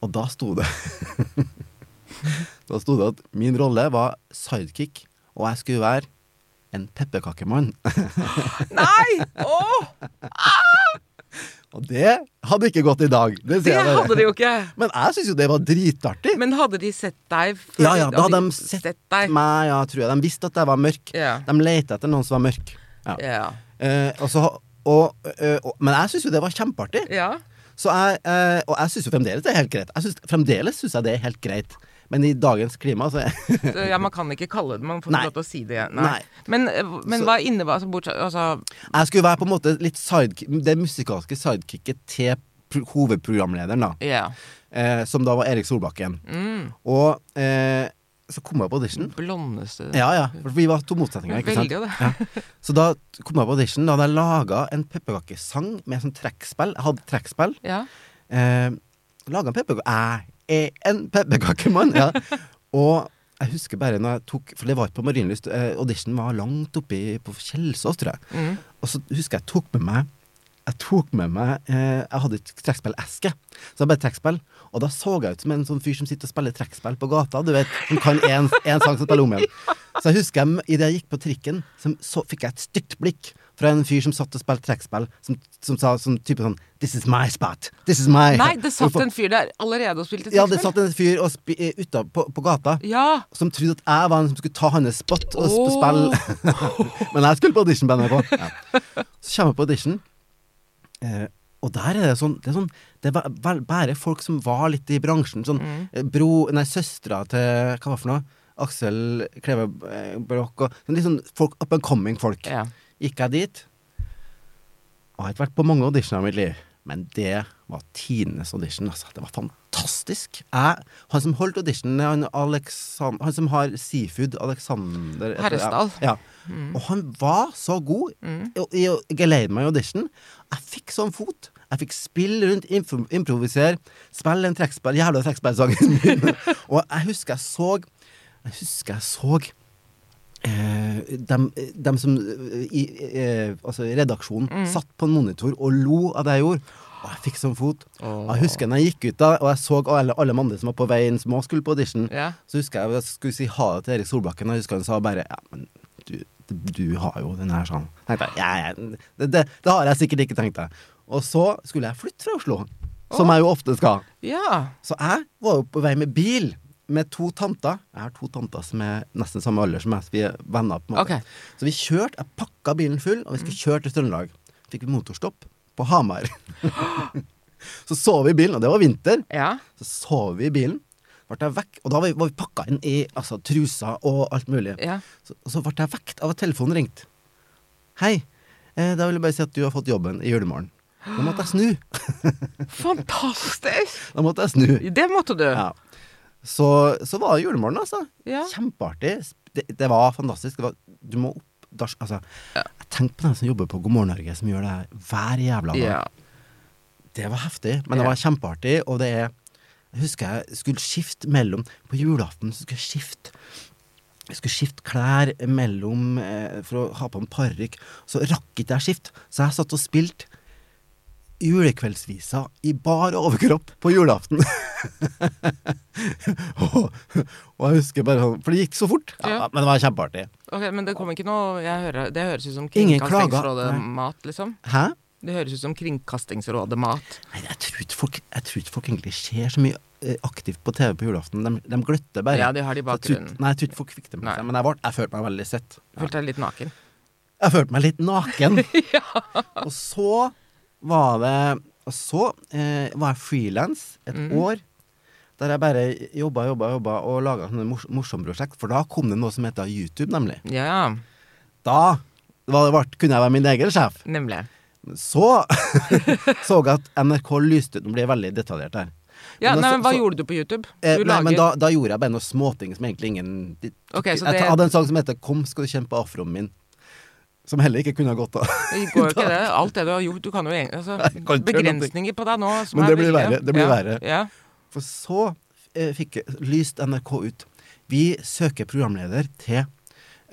Speaker 1: Og da sto det Da sto det at min rolle var sidekick, og jeg skulle være en pepperkakemann.
Speaker 2: Nei! Åh!
Speaker 1: Og det hadde ikke gått i dag. Det, sier
Speaker 2: Det
Speaker 1: jeg bare.
Speaker 2: hadde de jo ikke.
Speaker 1: Men jeg syns jo det var dritartig.
Speaker 2: Men hadde de sett deg før?
Speaker 1: Ja, ja, da hadde de
Speaker 2: sett,
Speaker 1: sett,
Speaker 2: deg.
Speaker 1: meg, ja, tror jeg. De visste at jeg var mørk.
Speaker 2: Ja.
Speaker 1: De lette etter noen som var mørk. Ja.
Speaker 2: Ja.
Speaker 1: Eh, og så, og, eh, og, men jeg syns jo det var kjempeartig.
Speaker 2: ja.
Speaker 1: Så jeg, eh, og jeg syns jo fremdeles det er helt greit. Jeg synes, fremdeles syns jeg det er helt greit. Men i dagens klima, så
Speaker 2: Så, ja, man kan ikke kalle det Man får
Speaker 1: Nei.
Speaker 2: ikke lov til å si det.
Speaker 1: Nei.
Speaker 2: Men, eh, men
Speaker 1: Så-
Speaker 2: hva innebar altså, bortsett, altså,
Speaker 1: Jeg skulle være på en måte litt sidekick, det musikalske sidekicket til pro- hovedprogramlederen, da.
Speaker 2: Ja.
Speaker 1: Eh, som da var Erik Solbakken.
Speaker 2: Mm.
Speaker 1: Og eh, så kom jeg på audition.
Speaker 2: Blondeste
Speaker 1: Ja, ja. For vi var to motsetninger, ikke sant?
Speaker 2: Veldig jo det.
Speaker 1: Så da kom jeg på audition. Da hadde jeg laga en pepperkakesang med sånn trekkspill. Jeg hadde trekkspill.
Speaker 2: Ja.
Speaker 1: Eh, laga en pepperkake Jeg er eh, en pepperkakemann! Ja. Og jeg husker bare når jeg tok For det var ikke på Marienlyst. Eh, audition var langt oppe på Kjelsås, tror jeg.
Speaker 2: Mm.
Speaker 1: Og så husker jeg jeg tok med meg jeg tok med meg, eh, jeg hadde et trekkspilleske, så jeg bare trekkspill. Og da så jeg ut som en sånn fyr som sitter og spiller trekkspill på gata. Du vet, Som kan én sang som spiller om igjen. Så jeg husker jeg, idet jeg gikk på trikken, så, så fikk jeg et stygt blikk fra en fyr som satt og spilte trekkspill, som, som sa sånn type sånn This is my spot. This is my
Speaker 2: Nei, det satt
Speaker 1: Hvorfor-
Speaker 2: en fyr der allerede og spilte
Speaker 1: Ja, det
Speaker 2: trekkspill.
Speaker 1: satt en fyr og spi, eh, uta, på, på gata
Speaker 2: Ja.
Speaker 1: som trodde at jeg var han som skulle ta hans spot og sp-
Speaker 2: Åh.
Speaker 1: spille. Men jeg skulle på audition på NRK. Ja. Så kommer jeg på audition, eh, og der er det sånn Det er, sånn, det er ba- vel- bare folk som var litt i bransjen. Sånn
Speaker 2: Mm.
Speaker 1: eh, bro Nei, søstera til Hva var det for noe? Aksel Kleve eh, Broch og sånn, Litt sånn folk, up and coming folk.
Speaker 2: Ja.
Speaker 1: Gikk jeg dit Og jeg har ikke vært på mange auditioner i mitt liv Men det var tidenes audition altså. Det var fantastisk jeg, Han som holdt auditionen han, Aleksan- han som har Seafood Alexander et-
Speaker 2: Herresdal.
Speaker 1: ja. Og han var så god og- I å geleide meg i audition Jeg fikk sånn fot jeg fikk spille rundt, impro improvisere, spille en trekkspill, jævla trekkspillsangen min. og jeg husker jeg så, jeg husker jeg så Eh, dem, dem som eh, i eh, altså redaksjonen satt på en monitor og lo av det jeg gjorde. Og jeg fikk sånn fot. Og Jeg husker når jeg gikk ut da, og jeg så alle, alle de andre som var på veien som også skulle på audition.
Speaker 2: Ja.
Speaker 1: Så husker jeg jeg skulle si ha det til Erik Solbakken, og jeg husker han sa bare Ja, men du, du har jo den her, sa han. Tenkte jeg, ja, ja, det, det, det har jeg sikkert ikke, tenkte jeg. Og så skulle jeg flytte fra Oslo. som jeg jo ofte skal.
Speaker 2: Ja.
Speaker 1: Så jeg var jo på vei med bil med to tanter. Jeg har to tanter som er nesten samme alder som meg. så Vi er venner. på en måte.
Speaker 2: Ok. Mm.
Speaker 1: Så vi kjørte, jeg pakka bilen full, og vi skulle kjøre til Trøndelag. Fikk vi motorstopp på Hamar. så sov vi i bilen, og det var vinter.
Speaker 2: Ja.
Speaker 1: Så sov vi i bilen. Ble jeg vekk, og da var vi, var vi pakka inn i altså, truser og alt mulig.
Speaker 2: ja.
Speaker 1: Så, og så ble jeg vekt av at telefonen ringte. Hei, eh, da vil jeg bare si at du har fått jobben i julemorgen. Da måtte jeg snu.
Speaker 2: Fantastisk!
Speaker 1: Da måtte jeg snu.
Speaker 2: Det måtte du.
Speaker 1: Ja. Så, så var det julemorgen, altså.
Speaker 2: Ja.
Speaker 1: Kjempeartig. Det, det var fantastisk. Det var, du må opp dars, altså, Tenk på dem som jobber på God morgen Norge, som gjør det her hver jævla dag.
Speaker 2: Ja.
Speaker 1: Det var heftig, men det var kjempeartig, og det er Jeg husker jeg skulle skifte mellom På julaften så skulle jeg skifte jeg skulle skifte klær mellom eh, for å ha på en parykk. Så rakk ikke jeg skift, så jeg satt og spilte julekveldsvisa i bar overkropp på julaften. og, og jeg husker bare sånn For det gikk så fort. Ja,
Speaker 2: Ja.
Speaker 1: Men det var kjempeartig.
Speaker 2: Ok, Men det kom ikke noe jeg hører, Det høres ut som
Speaker 1: Ingen klager.
Speaker 2: Kringkastingsrådet-mat, liksom.
Speaker 1: Hæ?
Speaker 2: Det høres ut som Kringkastingsrådet-mat.
Speaker 1: Nei, jeg tror ikke folk, jeg tror ikke folk egentlig ser så mye eh, aktivt på TV på julaften. De, de gløtter bare.
Speaker 2: Ja, de har det i
Speaker 1: Så jeg tror-
Speaker 2: bakgrunnen.
Speaker 1: Nei, jeg tror ikke folk fikk det med
Speaker 2: Nei.
Speaker 1: seg, men jeg, var, jeg følte meg veldig sett.
Speaker 2: Følte jeg litt naken.
Speaker 1: Jeg følte meg litt naken. Og så var det Og så eh, var jeg frilans et
Speaker 2: Mm.
Speaker 1: år. Der jeg bare jobba, jobba, jobba og laga sånne mors morsomme prosjekt. For da kom det noe som heter YouTube, nemlig.
Speaker 2: Ja,
Speaker 1: Da var det, vart- kunne jeg være min egen sjef.
Speaker 2: nemlig.
Speaker 1: Så så jeg at NRK lyste ut Nå blir jeg veldig detaljert her.
Speaker 2: Ja,
Speaker 1: Men da
Speaker 2: nei,
Speaker 1: så-
Speaker 2: men Hva
Speaker 1: så-
Speaker 2: gjorde du på YouTube? Du
Speaker 1: Eh, nei, men
Speaker 2: lager-
Speaker 1: da, da gjorde jeg bare noe småting som egentlig ingen de-
Speaker 2: Ok, så
Speaker 1: Jeg
Speaker 2: det-
Speaker 1: hadde en sang som heter 'Kom, skal du kjenne på afroen min'. Som heller ikke kunne ha gått av.
Speaker 2: Det går jo ikke det. Alt det du har gjort, du kan jo egentlig altså,
Speaker 1: kan ikke gjøre noe.
Speaker 2: Begrensninger på deg nå. Som
Speaker 1: Men det
Speaker 2: er
Speaker 1: blir
Speaker 2: veldig-
Speaker 1: verre, det
Speaker 2: ja,
Speaker 1: blir verre.
Speaker 2: Ja.
Speaker 1: For så eh, fikk lyst NRK ut. Vi søker programleder til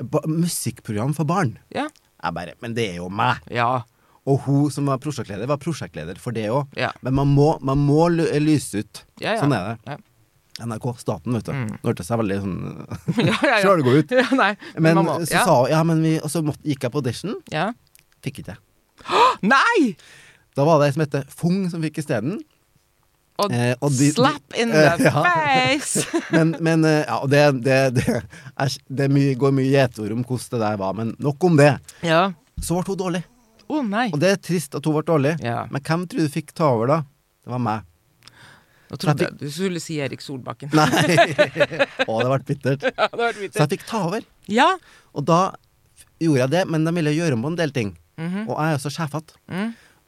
Speaker 1: ba musikkprogram for barn.
Speaker 2: Ja.
Speaker 1: Jeg bare Men det er jo meg!
Speaker 2: ja.
Speaker 1: Og hun som var prosjektleder, var prosjektleder for det òg.
Speaker 2: Ja.
Speaker 1: Men man må, man må ly- lyse ut.
Speaker 2: Ja, ja.
Speaker 1: Sånn er det.
Speaker 2: Ja.
Speaker 1: NRK, staten, vet du. Det hørtes jeg veldig sånn
Speaker 2: ja, ja, ja.
Speaker 1: Sjølgod ut.
Speaker 2: Ja, nei,
Speaker 1: Men
Speaker 2: man må-
Speaker 1: så
Speaker 2: ja.
Speaker 1: sa hun Ja, men vi Og så måtte, gikk jeg på audition.
Speaker 2: ja.
Speaker 1: Fikk ikke det.
Speaker 2: Nei!
Speaker 1: Da var det ei som het Fung, som fikk isteden.
Speaker 2: Og,
Speaker 1: Eh, og de-
Speaker 2: slap in
Speaker 1: Eh,
Speaker 2: the
Speaker 1: ja.
Speaker 2: face!
Speaker 1: Men, men eh, ja, og det, det, det, æsj, det er mye, går mye gjetord om hvordan det der var, men nok om det.
Speaker 2: Ja.
Speaker 1: Så ble hun dårlig,
Speaker 2: Å nei.
Speaker 1: og det er trist at hun ble dårlig.
Speaker 2: Ja.
Speaker 1: Men hvem tror du fikk ta over da? Det var meg.
Speaker 2: Nå trodde jeg du skulle si Erik Solbakken.
Speaker 1: Nei! Å, det ble bittert.
Speaker 2: Ja, det var
Speaker 1: Så
Speaker 2: vittig.
Speaker 1: jeg fikk ta over.
Speaker 2: ja.
Speaker 1: Og da f- gjorde jeg det, men de ville gjøre om på en del ting.
Speaker 2: Mhm.
Speaker 1: Og jeg er også sjefete.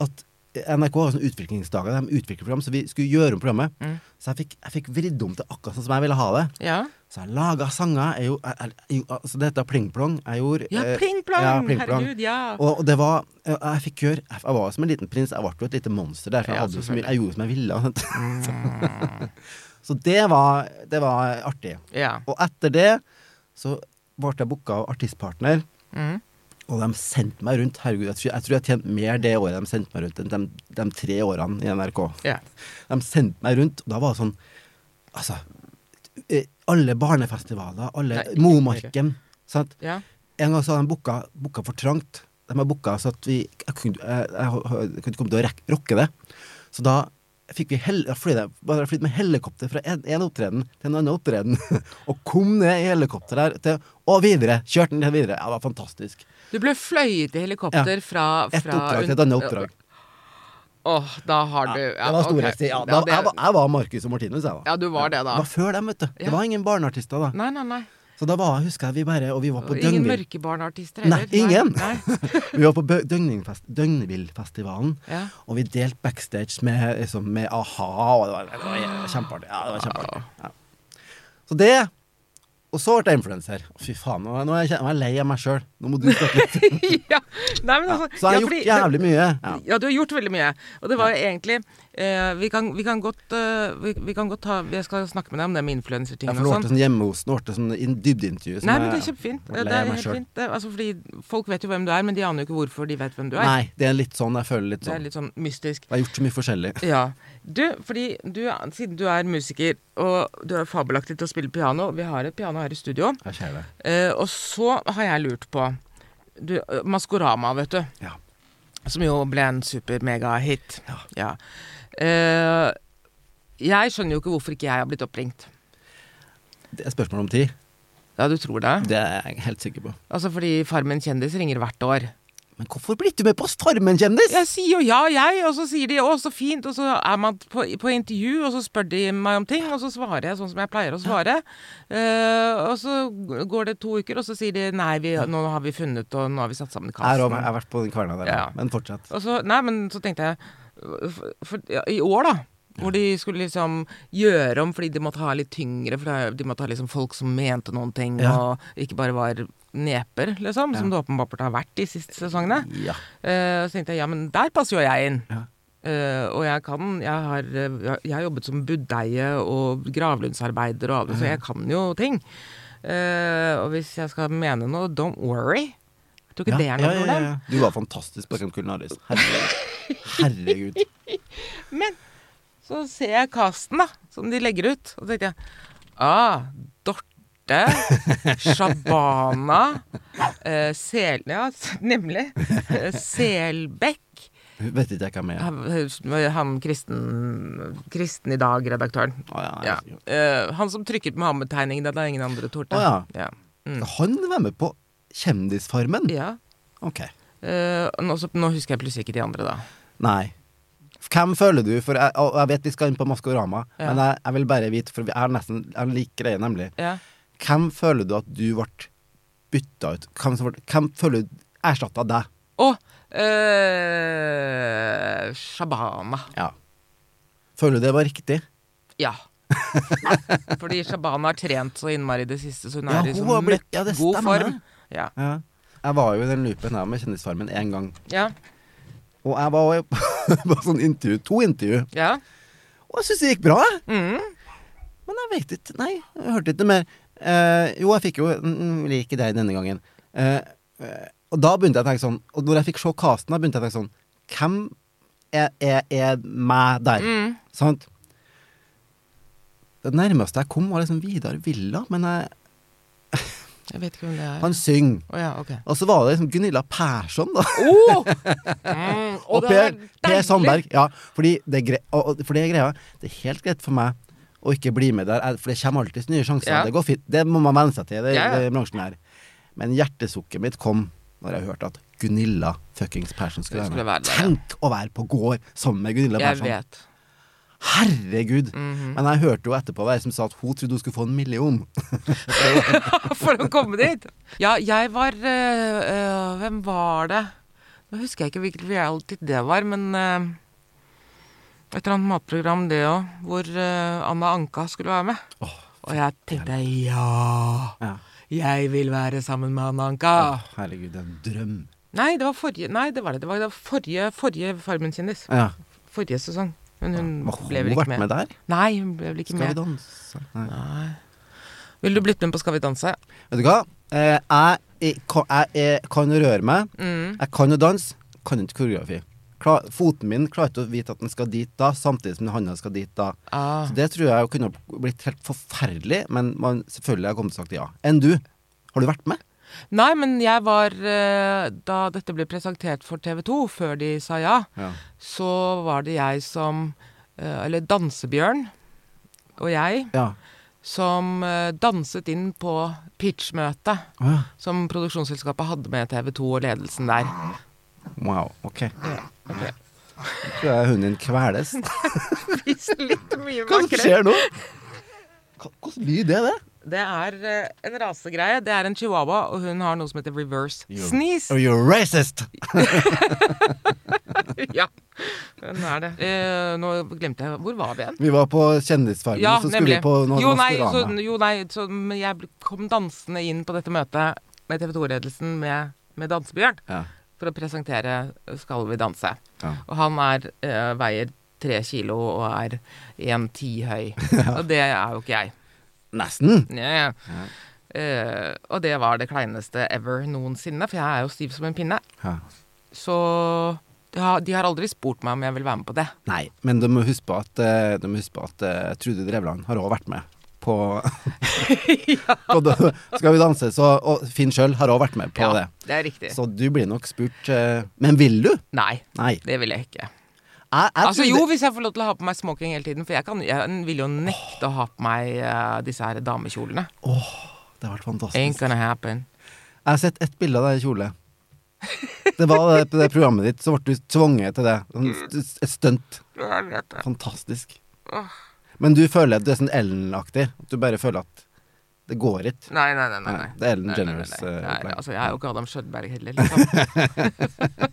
Speaker 1: At NRK har sånne utviklingsdager, de utvikler program, så vi skulle gjøre om programmet. Så jeg fikk, jeg fikk vridd om til akkurat sånn som jeg ville ha det.
Speaker 2: ja.
Speaker 1: Så jeg laga sanger. Jeg, gjorde- jeg, jeg, jeg, altså det heter pling-plong. Jeg gjorde
Speaker 2: Ja,
Speaker 1: eh,
Speaker 2: pling-plong!
Speaker 1: ja, pling-plong.
Speaker 2: Herregud, ja.
Speaker 1: Og, og det var Jeg, jeg fikk gjøre Jeg jeg var som en liten prins. Jeg ble jo et lite monster der, for jeg,
Speaker 2: Ja, Mm.
Speaker 1: hadde jo så mye, jeg gjorde som jeg ville. og sånt. så det var, det var artig.
Speaker 2: ja.
Speaker 1: Og etter det så ble jeg booka av Artistpartner.
Speaker 2: Mhm.
Speaker 1: Og de sendte meg rundt. Herregud, jeg tror jeg, tror jeg tjente mer det året de sendte meg rundt, enn de, de tre årene i NRK.
Speaker 2: ja.
Speaker 1: De sendte meg rundt, og da var det sånn Altså eh, Alle barnefestivaler, alle
Speaker 2: Nei, ikke-
Speaker 1: Momarken. Sant?
Speaker 2: Ja.
Speaker 1: En gang så hadde de booka, booka for trangt. De har booka så at vi Jeg kunne, jeg, jeg, jeg kunne ikke komme til å rek, rocke det. Så da fikk vi hel, da fløy de- bare flydd med helikopter fra en, en opptreden til en annen opptreden. og kom ned i helikopter der til, og videre. Kjørte den videre. Ja, det var fantastisk.
Speaker 2: Du ble fløyet i helikopter fra, fra
Speaker 1: Et oppdrag til et annet oppdrag.
Speaker 2: Åh, da har du
Speaker 1: Ja,
Speaker 2: ja,
Speaker 1: det var
Speaker 2: ok.
Speaker 1: storhetstid. Ja, da,
Speaker 2: det-
Speaker 1: jeg, var- jeg var Marcus og Martinus, jeg, da.
Speaker 2: Ja, du var det, da.
Speaker 1: Det var før dem, vet du.
Speaker 2: Ja.
Speaker 1: Det var ingen barneartister da.
Speaker 2: Nei, nei, nei.
Speaker 1: Så da var, husker jeg vi bare Og vi var på
Speaker 2: Og ingen
Speaker 1: Døgnvill.
Speaker 2: mørkebarnartister
Speaker 1: Nei,
Speaker 2: heller.
Speaker 1: ingen!
Speaker 2: Nei, nei.
Speaker 1: vi var på Bø- Døgnvillfest- Døgnvillfestivalen,
Speaker 2: Ja.
Speaker 1: og vi delte backstage med, liksom, med a-ha, og det var, det var kjempeartig. Ja, det var kjempeartig. Ja. Så det Og så ble jeg influenser. Fy faen, nå er nå er jeg, kjen- nå er jeg lei av meg sjøl. Nå må du snakke litt.
Speaker 2: ja. nei men
Speaker 1: Ja.
Speaker 2: altså,
Speaker 1: Så jeg har
Speaker 2: ja,
Speaker 1: gjort
Speaker 2: fordi-
Speaker 1: jævlig mye. Ja.
Speaker 2: Ja, du har gjort veldig mye. Og det var jo egentlig eh, vi, kan, vi kan godt eh, vi, vi kan godt ta Jeg skal snakke med deg om det med
Speaker 1: Ja,
Speaker 2: influensertingene
Speaker 1: for nå
Speaker 2: og
Speaker 1: ble det
Speaker 2: sånn.
Speaker 1: sånn hjemmehost, nå ble det sånn in- dybdeintervju. som
Speaker 2: Nei, men det
Speaker 1: jeg-
Speaker 2: er kjempefint.
Speaker 1: jeg
Speaker 2: Det
Speaker 1: ble lei av
Speaker 2: er
Speaker 1: meg
Speaker 2: helt
Speaker 1: selv.
Speaker 2: fint. Det, altså, fordi folk vet jo hvem du er, men de aner jo ikke hvorfor de vet hvem du er.
Speaker 1: Nei, det er litt sånn. Jeg føler litt
Speaker 2: Det er
Speaker 1: sånn.
Speaker 2: litt sånn mystisk.
Speaker 1: Jeg har gjort så mye forskjellig.
Speaker 2: Ja. Du, fordi du, er- siden du er musiker, og du er fabelaktig til å spille piano Vi har et piano her i studio.
Speaker 1: Jeg ser det.
Speaker 2: Eh, og så har jeg lurt på du, eh, Maskorama, vet du.
Speaker 1: Ja.
Speaker 2: Som jo ble en super-mega-hit. Ja. Eh, jeg skjønner jo ikke hvorfor ikke jeg har blitt oppringt.
Speaker 1: Det er spørsmål om tid.
Speaker 2: Ja, du tror det?
Speaker 1: Det er jeg helt sikker på.
Speaker 2: Altså fordi Farmen kjendis ringer hvert år.
Speaker 1: Men hvorfor ble du med på Stormen, kjendis?
Speaker 2: Jeg sier jo ja, jeg, og så sier de å, så fint, og så er man på, på intervju, og så spør de meg om ting, og så svarer jeg sånn som jeg pleier å svare. Eh, og så går det to uker, og så sier de nei, vi, nå har vi funnet, og nå har vi satt sammen
Speaker 1: Jeg har
Speaker 2: kassen.
Speaker 1: også- jeg har vært på den kverna der,
Speaker 2: Ja.
Speaker 1: men fortsett.
Speaker 2: Og så, nei, men så tenkte jeg for, for, ja, I år, da. Hvor de skulle liksom gjøre om fordi de måtte ha litt tyngre. For det er- de måtte ha liksom folk som mente noen ting,
Speaker 1: Ja.
Speaker 2: og ikke bare var neper, liksom. Som det åpenbart har vært de siste sesongene.
Speaker 1: Ja.
Speaker 2: Eh, så tenkte jeg ja, men der passer jo jeg inn.
Speaker 1: Ja.
Speaker 2: Eh, og jeg kan Jeg har, eh, jeg har jobbet som budeie og gravlundsarbeider og alt, så jeg kan jo ting. Eh, og hvis jeg skal mene noe, don't worry. Jeg tror ikke det er noe problem.
Speaker 1: Du var fantastisk på Camp Culinaris. Herregud. Herregud.
Speaker 2: Men så ser jeg casten, da, som de legger ut. Og så tenkte jeg ah, Dorte, Shabana, eh, Sel... Ja, s- nemlig. Eh, Selbekk.
Speaker 1: Hun Vet ikke jeg hvem jeg er.
Speaker 2: Han, han kristen, kristen i dag-redaktøren.
Speaker 1: Å ja,
Speaker 2: Ja.
Speaker 1: jeg-
Speaker 2: Eh, han som trykket Mohammed-tegningen da det ingen andre torde.
Speaker 1: Å
Speaker 2: ja. Mm.
Speaker 1: Han var med på Kjendisfarmen?
Speaker 2: ja.
Speaker 1: Ok.
Speaker 2: Eh, nå, så, nå husker jeg plutselig ikke de andre, da.
Speaker 1: Nei. Hvem føler du? For jeg, og jeg vet vi skal inn på Maskorama,
Speaker 2: Ja.
Speaker 1: men jeg, jeg vil bare vite, for jeg har nesten jeg har lik greie, nemlig.
Speaker 2: Ja.
Speaker 1: Hvem føler du at du ble bytta ut? Hvem, som ble, hvem føler du erstatta deg?
Speaker 2: Og eh, Shabana.
Speaker 1: Ja. Føler du det var riktig?
Speaker 2: Ja. Fordi Shabana har trent så innmari i det siste, så hun
Speaker 1: Ja,
Speaker 2: er i
Speaker 1: hun
Speaker 2: sånn
Speaker 1: har blitt- ja, det
Speaker 2: god
Speaker 1: stemmer.
Speaker 2: form. Ja.
Speaker 1: Ja. Jeg var jo i den loopen her med Kjendisfarmen én gang.
Speaker 2: Ja.
Speaker 1: Og jeg var jo på sånn intervju, to intervju,
Speaker 2: ja.
Speaker 1: og jeg syns det gikk bra. jeg.
Speaker 2: Mm.
Speaker 1: Men jeg vet ikke. Nei, jeg hørte ikke noe mer. Eh, jo, jeg fikk jo mm, like deg denne gangen. Eh, eh, og da begynte jeg å tenke sånn Og når jeg fikk se casten, da begynte jeg å tenke sånn Hvem er, er, er meg der?
Speaker 2: Mm.
Speaker 1: Sant? Det nærmeste jeg kom, var liksom Vidar Villa, men jeg,
Speaker 2: Jeg vet ikke hvem det er. Å
Speaker 1: han synger.
Speaker 2: ja, ok.
Speaker 1: Og så var det liksom Gunilla Persson, da.
Speaker 2: Oh! Mm.
Speaker 1: Og
Speaker 2: det er
Speaker 1: Per, per
Speaker 2: deilig.
Speaker 1: Sandberg. Ja, fordi det, er gre og, og, for det er greia. Det er helt greit for meg å ikke bli med der, jeg- for det kommer alltid nye sjanser.
Speaker 2: Ja.
Speaker 1: Det går fint. Det må man venne seg til. Det,
Speaker 2: Ja, ja.
Speaker 1: det er bransjen her. Men hjertesukket mitt kom når jeg hørte at Gunilla fuckings Persson skulle,
Speaker 2: Skulle
Speaker 1: være
Speaker 2: være
Speaker 1: med.
Speaker 2: der, ja.
Speaker 1: Tenk å være på gård sammen med Gunilla
Speaker 2: Jeg
Speaker 1: Persson.
Speaker 2: vet. Mhm.
Speaker 1: Herregud! Men jeg hørte jo etterpå hva jeg som sa at hun trodde hun skulle få en million.
Speaker 2: For å komme dit. Ja, jeg var eh, eh, Hvem var det? Nå husker jeg ikke hvilken reality det var, men eh, et eller annet matprogram, det òg, hvor eh, Anna Anka skulle være med.
Speaker 1: Åh,
Speaker 2: Og jeg tenkte ja,
Speaker 1: ja.
Speaker 2: jeg vil være sammen med Anna Anka.
Speaker 1: Åh, herregud, det er en drøm.
Speaker 2: Nei, det var forrige Nei, det var det. Det var, det var forrige, forrige Farmen kjendis.
Speaker 1: Ja.
Speaker 2: Forrige sesong. Men hun
Speaker 1: Har hun
Speaker 2: Mm, ble vel ikke
Speaker 1: vært
Speaker 2: med.
Speaker 1: med der?
Speaker 2: Nei, hun ble vel ikke
Speaker 1: Skal vi
Speaker 2: med.
Speaker 1: danse? Nei.
Speaker 2: Nei. Ville du blitt med på Skal vi danse?
Speaker 1: Vet du hva? Eh, jeg, jeg, kan- jeg, jeg kan jo røre meg.
Speaker 2: Mm.
Speaker 1: Jeg kan jo danse, kan ikke koreografi. Kla, foten min klarer ikke å vite at den skal dit da, samtidig som handa skal dit da.
Speaker 2: Ah.
Speaker 1: Så det tror jeg jo kunne blitt helt forferdelig, men man, selvfølgelig har jeg kommet til å sagt ja. Enn du? Har du vært med?
Speaker 2: Nei, men jeg var eh, Da dette ble presentert for TV 2, før de sa ja,
Speaker 1: Ja.
Speaker 2: så var det jeg som eh, Eller Dansebjørn og jeg
Speaker 1: Ja.
Speaker 2: som eh, danset inn på pitchmøtet
Speaker 1: Å ja.
Speaker 2: som produksjonsselskapet hadde med TV 2 og ledelsen der.
Speaker 1: Wow, ok.
Speaker 2: ok.
Speaker 1: Tror jeg hunden din kveles.
Speaker 2: Spiste litt mye
Speaker 1: Hva som
Speaker 2: makrell.
Speaker 1: skjer nå? Hva slags lyd er det?
Speaker 2: Det er eh, en rasegreie. Det er en chihuahua, og hun har noe som heter reverse
Speaker 1: Jo.
Speaker 2: sneeze.
Speaker 1: Oh, you're racist!
Speaker 2: ja, hun er det. Eh, nå glemte jeg Hvor var vi igjen?
Speaker 1: Vi var på Kjendisfarmen,
Speaker 2: Ja,
Speaker 1: så skulle
Speaker 2: nemlig.
Speaker 1: vi på noe
Speaker 2: Jo nei, så,
Speaker 1: Maskorama.
Speaker 2: jo, nei, så men jeg ble- kom dansende inn på dette møtet med TV 2-ledelsen med, med Dansebjørn
Speaker 1: Ja.
Speaker 2: for å presentere Skal vi danse.
Speaker 1: Ja.
Speaker 2: Og han er, eh, veier tre kilo og er 1,10 høy. Og det er jo ikke jeg.
Speaker 1: Nesten!
Speaker 2: Ja. Eh, og det var det kleineste ever noensinne, for jeg er jo stiv som en pinne.
Speaker 1: Ja.
Speaker 2: Så de har, de har aldri spurt meg om jeg vil være med på det.
Speaker 1: Nei, men du må huske på at, eh, du må huske på at eh, Trude Drevland har også vært med på, på det. Skal vi danse, så Og Finn sjøl har òg vært med på
Speaker 2: Ja,
Speaker 1: det.
Speaker 2: det er riktig.
Speaker 1: Så du blir nok spurt eh, Men vil du?
Speaker 2: Nei,
Speaker 1: Nei.
Speaker 2: det vil jeg ikke.
Speaker 1: Jeg, jeg
Speaker 2: Altså
Speaker 1: trodde-
Speaker 2: Jo, hvis jeg får lov til å ha på meg smoking hele tiden, for jeg, kan, jeg vil jo nekte å ha på meg eh, disse her damekjolene.
Speaker 1: Det har vært fantastisk.
Speaker 2: Ain't gonna happen.
Speaker 1: Jeg har sett ett bilde av deg i kjole. Det var det, på det programmet ditt, så ble du tvunget til det. Sånn
Speaker 2: Mm.
Speaker 1: st- Et stunt. Fantastisk. Men du føler at du er sånn Ellen-aktig. At du bare føler at det går ikke.
Speaker 2: Nei, nei, nei. nei, nei.
Speaker 1: Nei, det er Ellen
Speaker 2: Nei, nei, nei, nei.
Speaker 1: DeGeneres, eh,
Speaker 2: Nei,
Speaker 1: opplegg.
Speaker 2: Altså, jeg er jo ikke Adam Skjødberg heller, liksom.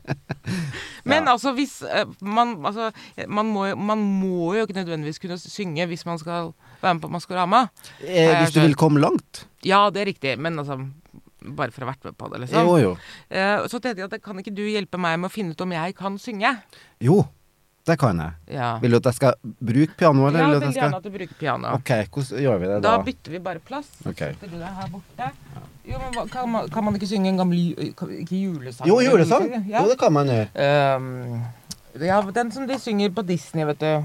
Speaker 2: Men altså, hvis eh, man Altså, man må, jo- man må jo ikke nødvendigvis kunne synge hvis man skal være med på Maskorama.
Speaker 1: Eh,
Speaker 2: jeg
Speaker 1: hvis du vil
Speaker 2: skjønner.
Speaker 1: komme langt.
Speaker 2: Ja, det er riktig, men altså bare for å ha vært med på det, liksom.
Speaker 1: Jo, jo.
Speaker 2: Eh, Så tenkte jeg at kan ikke du hjelpe meg med å finne ut om jeg kan synge?
Speaker 1: Jo, det kan jeg.
Speaker 2: Ja.
Speaker 1: Vil du at jeg skal bruke piano, eller?
Speaker 2: Ja,
Speaker 1: vil du at
Speaker 2: veldig
Speaker 1: jeg skal...
Speaker 2: gjerne at du bruker piano.
Speaker 1: Ok, hvordan gjør vi det da?
Speaker 2: Da bytter vi bare plass.
Speaker 1: Ok.
Speaker 2: Setter du deg her borte. Jo, men hva- kan man, kan man ikke synge en gammel ju- kan- Ikke julesang?
Speaker 1: Jo, julesang!
Speaker 2: Ja.
Speaker 1: Jo, det kan man gjøre.
Speaker 2: Ehm, ja, den som de synger på Disney, vet du.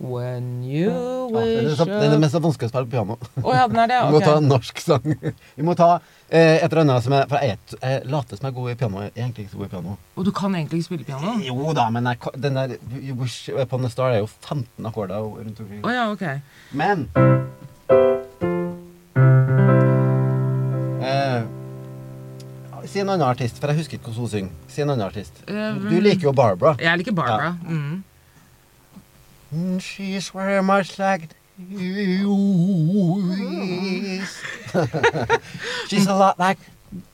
Speaker 2: When you
Speaker 1: Ja, det er
Speaker 2: wish
Speaker 1: så- det er det
Speaker 2: Å
Speaker 1: mest vanskelig å spille på piano.
Speaker 2: ja, den er det?
Speaker 1: Vi må ta
Speaker 2: Ok.
Speaker 1: en norsk sang. Vi må ta eh, et eller annet som er For jeg, er- jeg later som jeg er god i piano. Jeg er egentlig ikke så god i piano.
Speaker 2: Og du kan egentlig ikke spille piano? Å
Speaker 1: Jo da, men jeg, kan- den der You Wish Upon a Star er jo 15 akkorder rundt omkring.
Speaker 2: ja, ok.
Speaker 1: Men eh, Si en annen artist, for jeg husker ikke hvordan hun synger. Si en annen artist.
Speaker 2: Eh,
Speaker 1: Du liker jo Barbara.
Speaker 2: Jeg liker Barbara. Mm.
Speaker 1: Mm, She's very much like you is. She's a lot like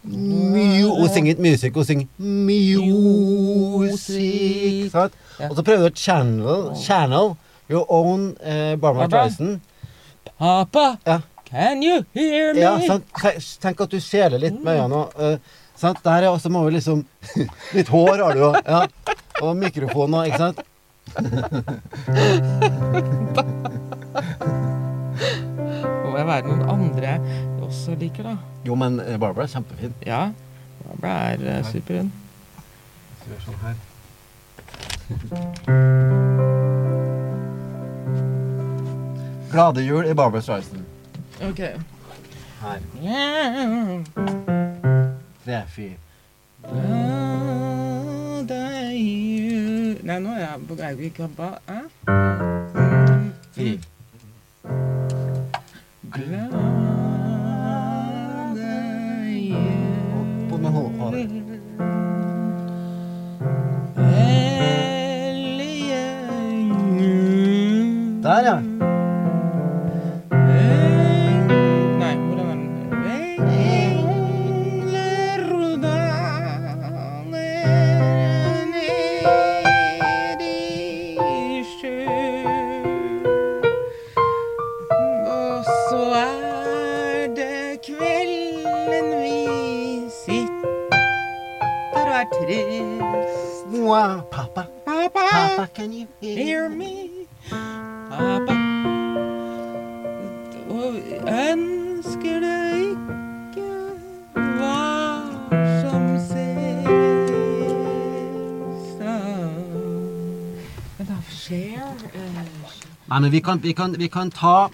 Speaker 1: mu- Hun synger ikke music, hun synger music. Sant?
Speaker 2: Ja.
Speaker 1: Og så prøver du å channel, channel your own eh, Barbara
Speaker 2: Barbara.
Speaker 1: Streisand.
Speaker 2: Papa,
Speaker 1: Ja.
Speaker 2: can you hear me?
Speaker 1: Ja, sant? Tenk- Tenk at du seler litt med øynene. eh, sant? Der er også må vi liksom Litt hår har du jo. Ja. Og mikrofon og Ikke sant?
Speaker 2: Må jeg være noen andre jeg også liker, da?
Speaker 1: Jo, men eh, Barbara er kjempefin.
Speaker 2: Ja. Barbara er eh, superhund.
Speaker 1: Hvis du gjør sånn her. Glade jul i Barbra Streisand.
Speaker 2: Ok.
Speaker 1: Her.
Speaker 2: Yeah.
Speaker 1: Tre, fire.
Speaker 2: Nei, nå er jeg på er jeg ikke på Hæ?
Speaker 1: fire.
Speaker 2: Glade
Speaker 1: På med håret.
Speaker 2: Hellige jul.
Speaker 1: Der, ja.
Speaker 2: Eng- Nei, hvordan er den? Engler daler ned i sjø. Og så er det kvelden vi sitter og er trist.
Speaker 1: Wow, Pappa,
Speaker 2: Pappa,
Speaker 1: pappa, can you hear
Speaker 2: hear
Speaker 1: me?
Speaker 2: me. Pappa, og ønsker det ikke var som sist. Men da skjer
Speaker 1: Nei, men vi kan, vi kan, vi kan ta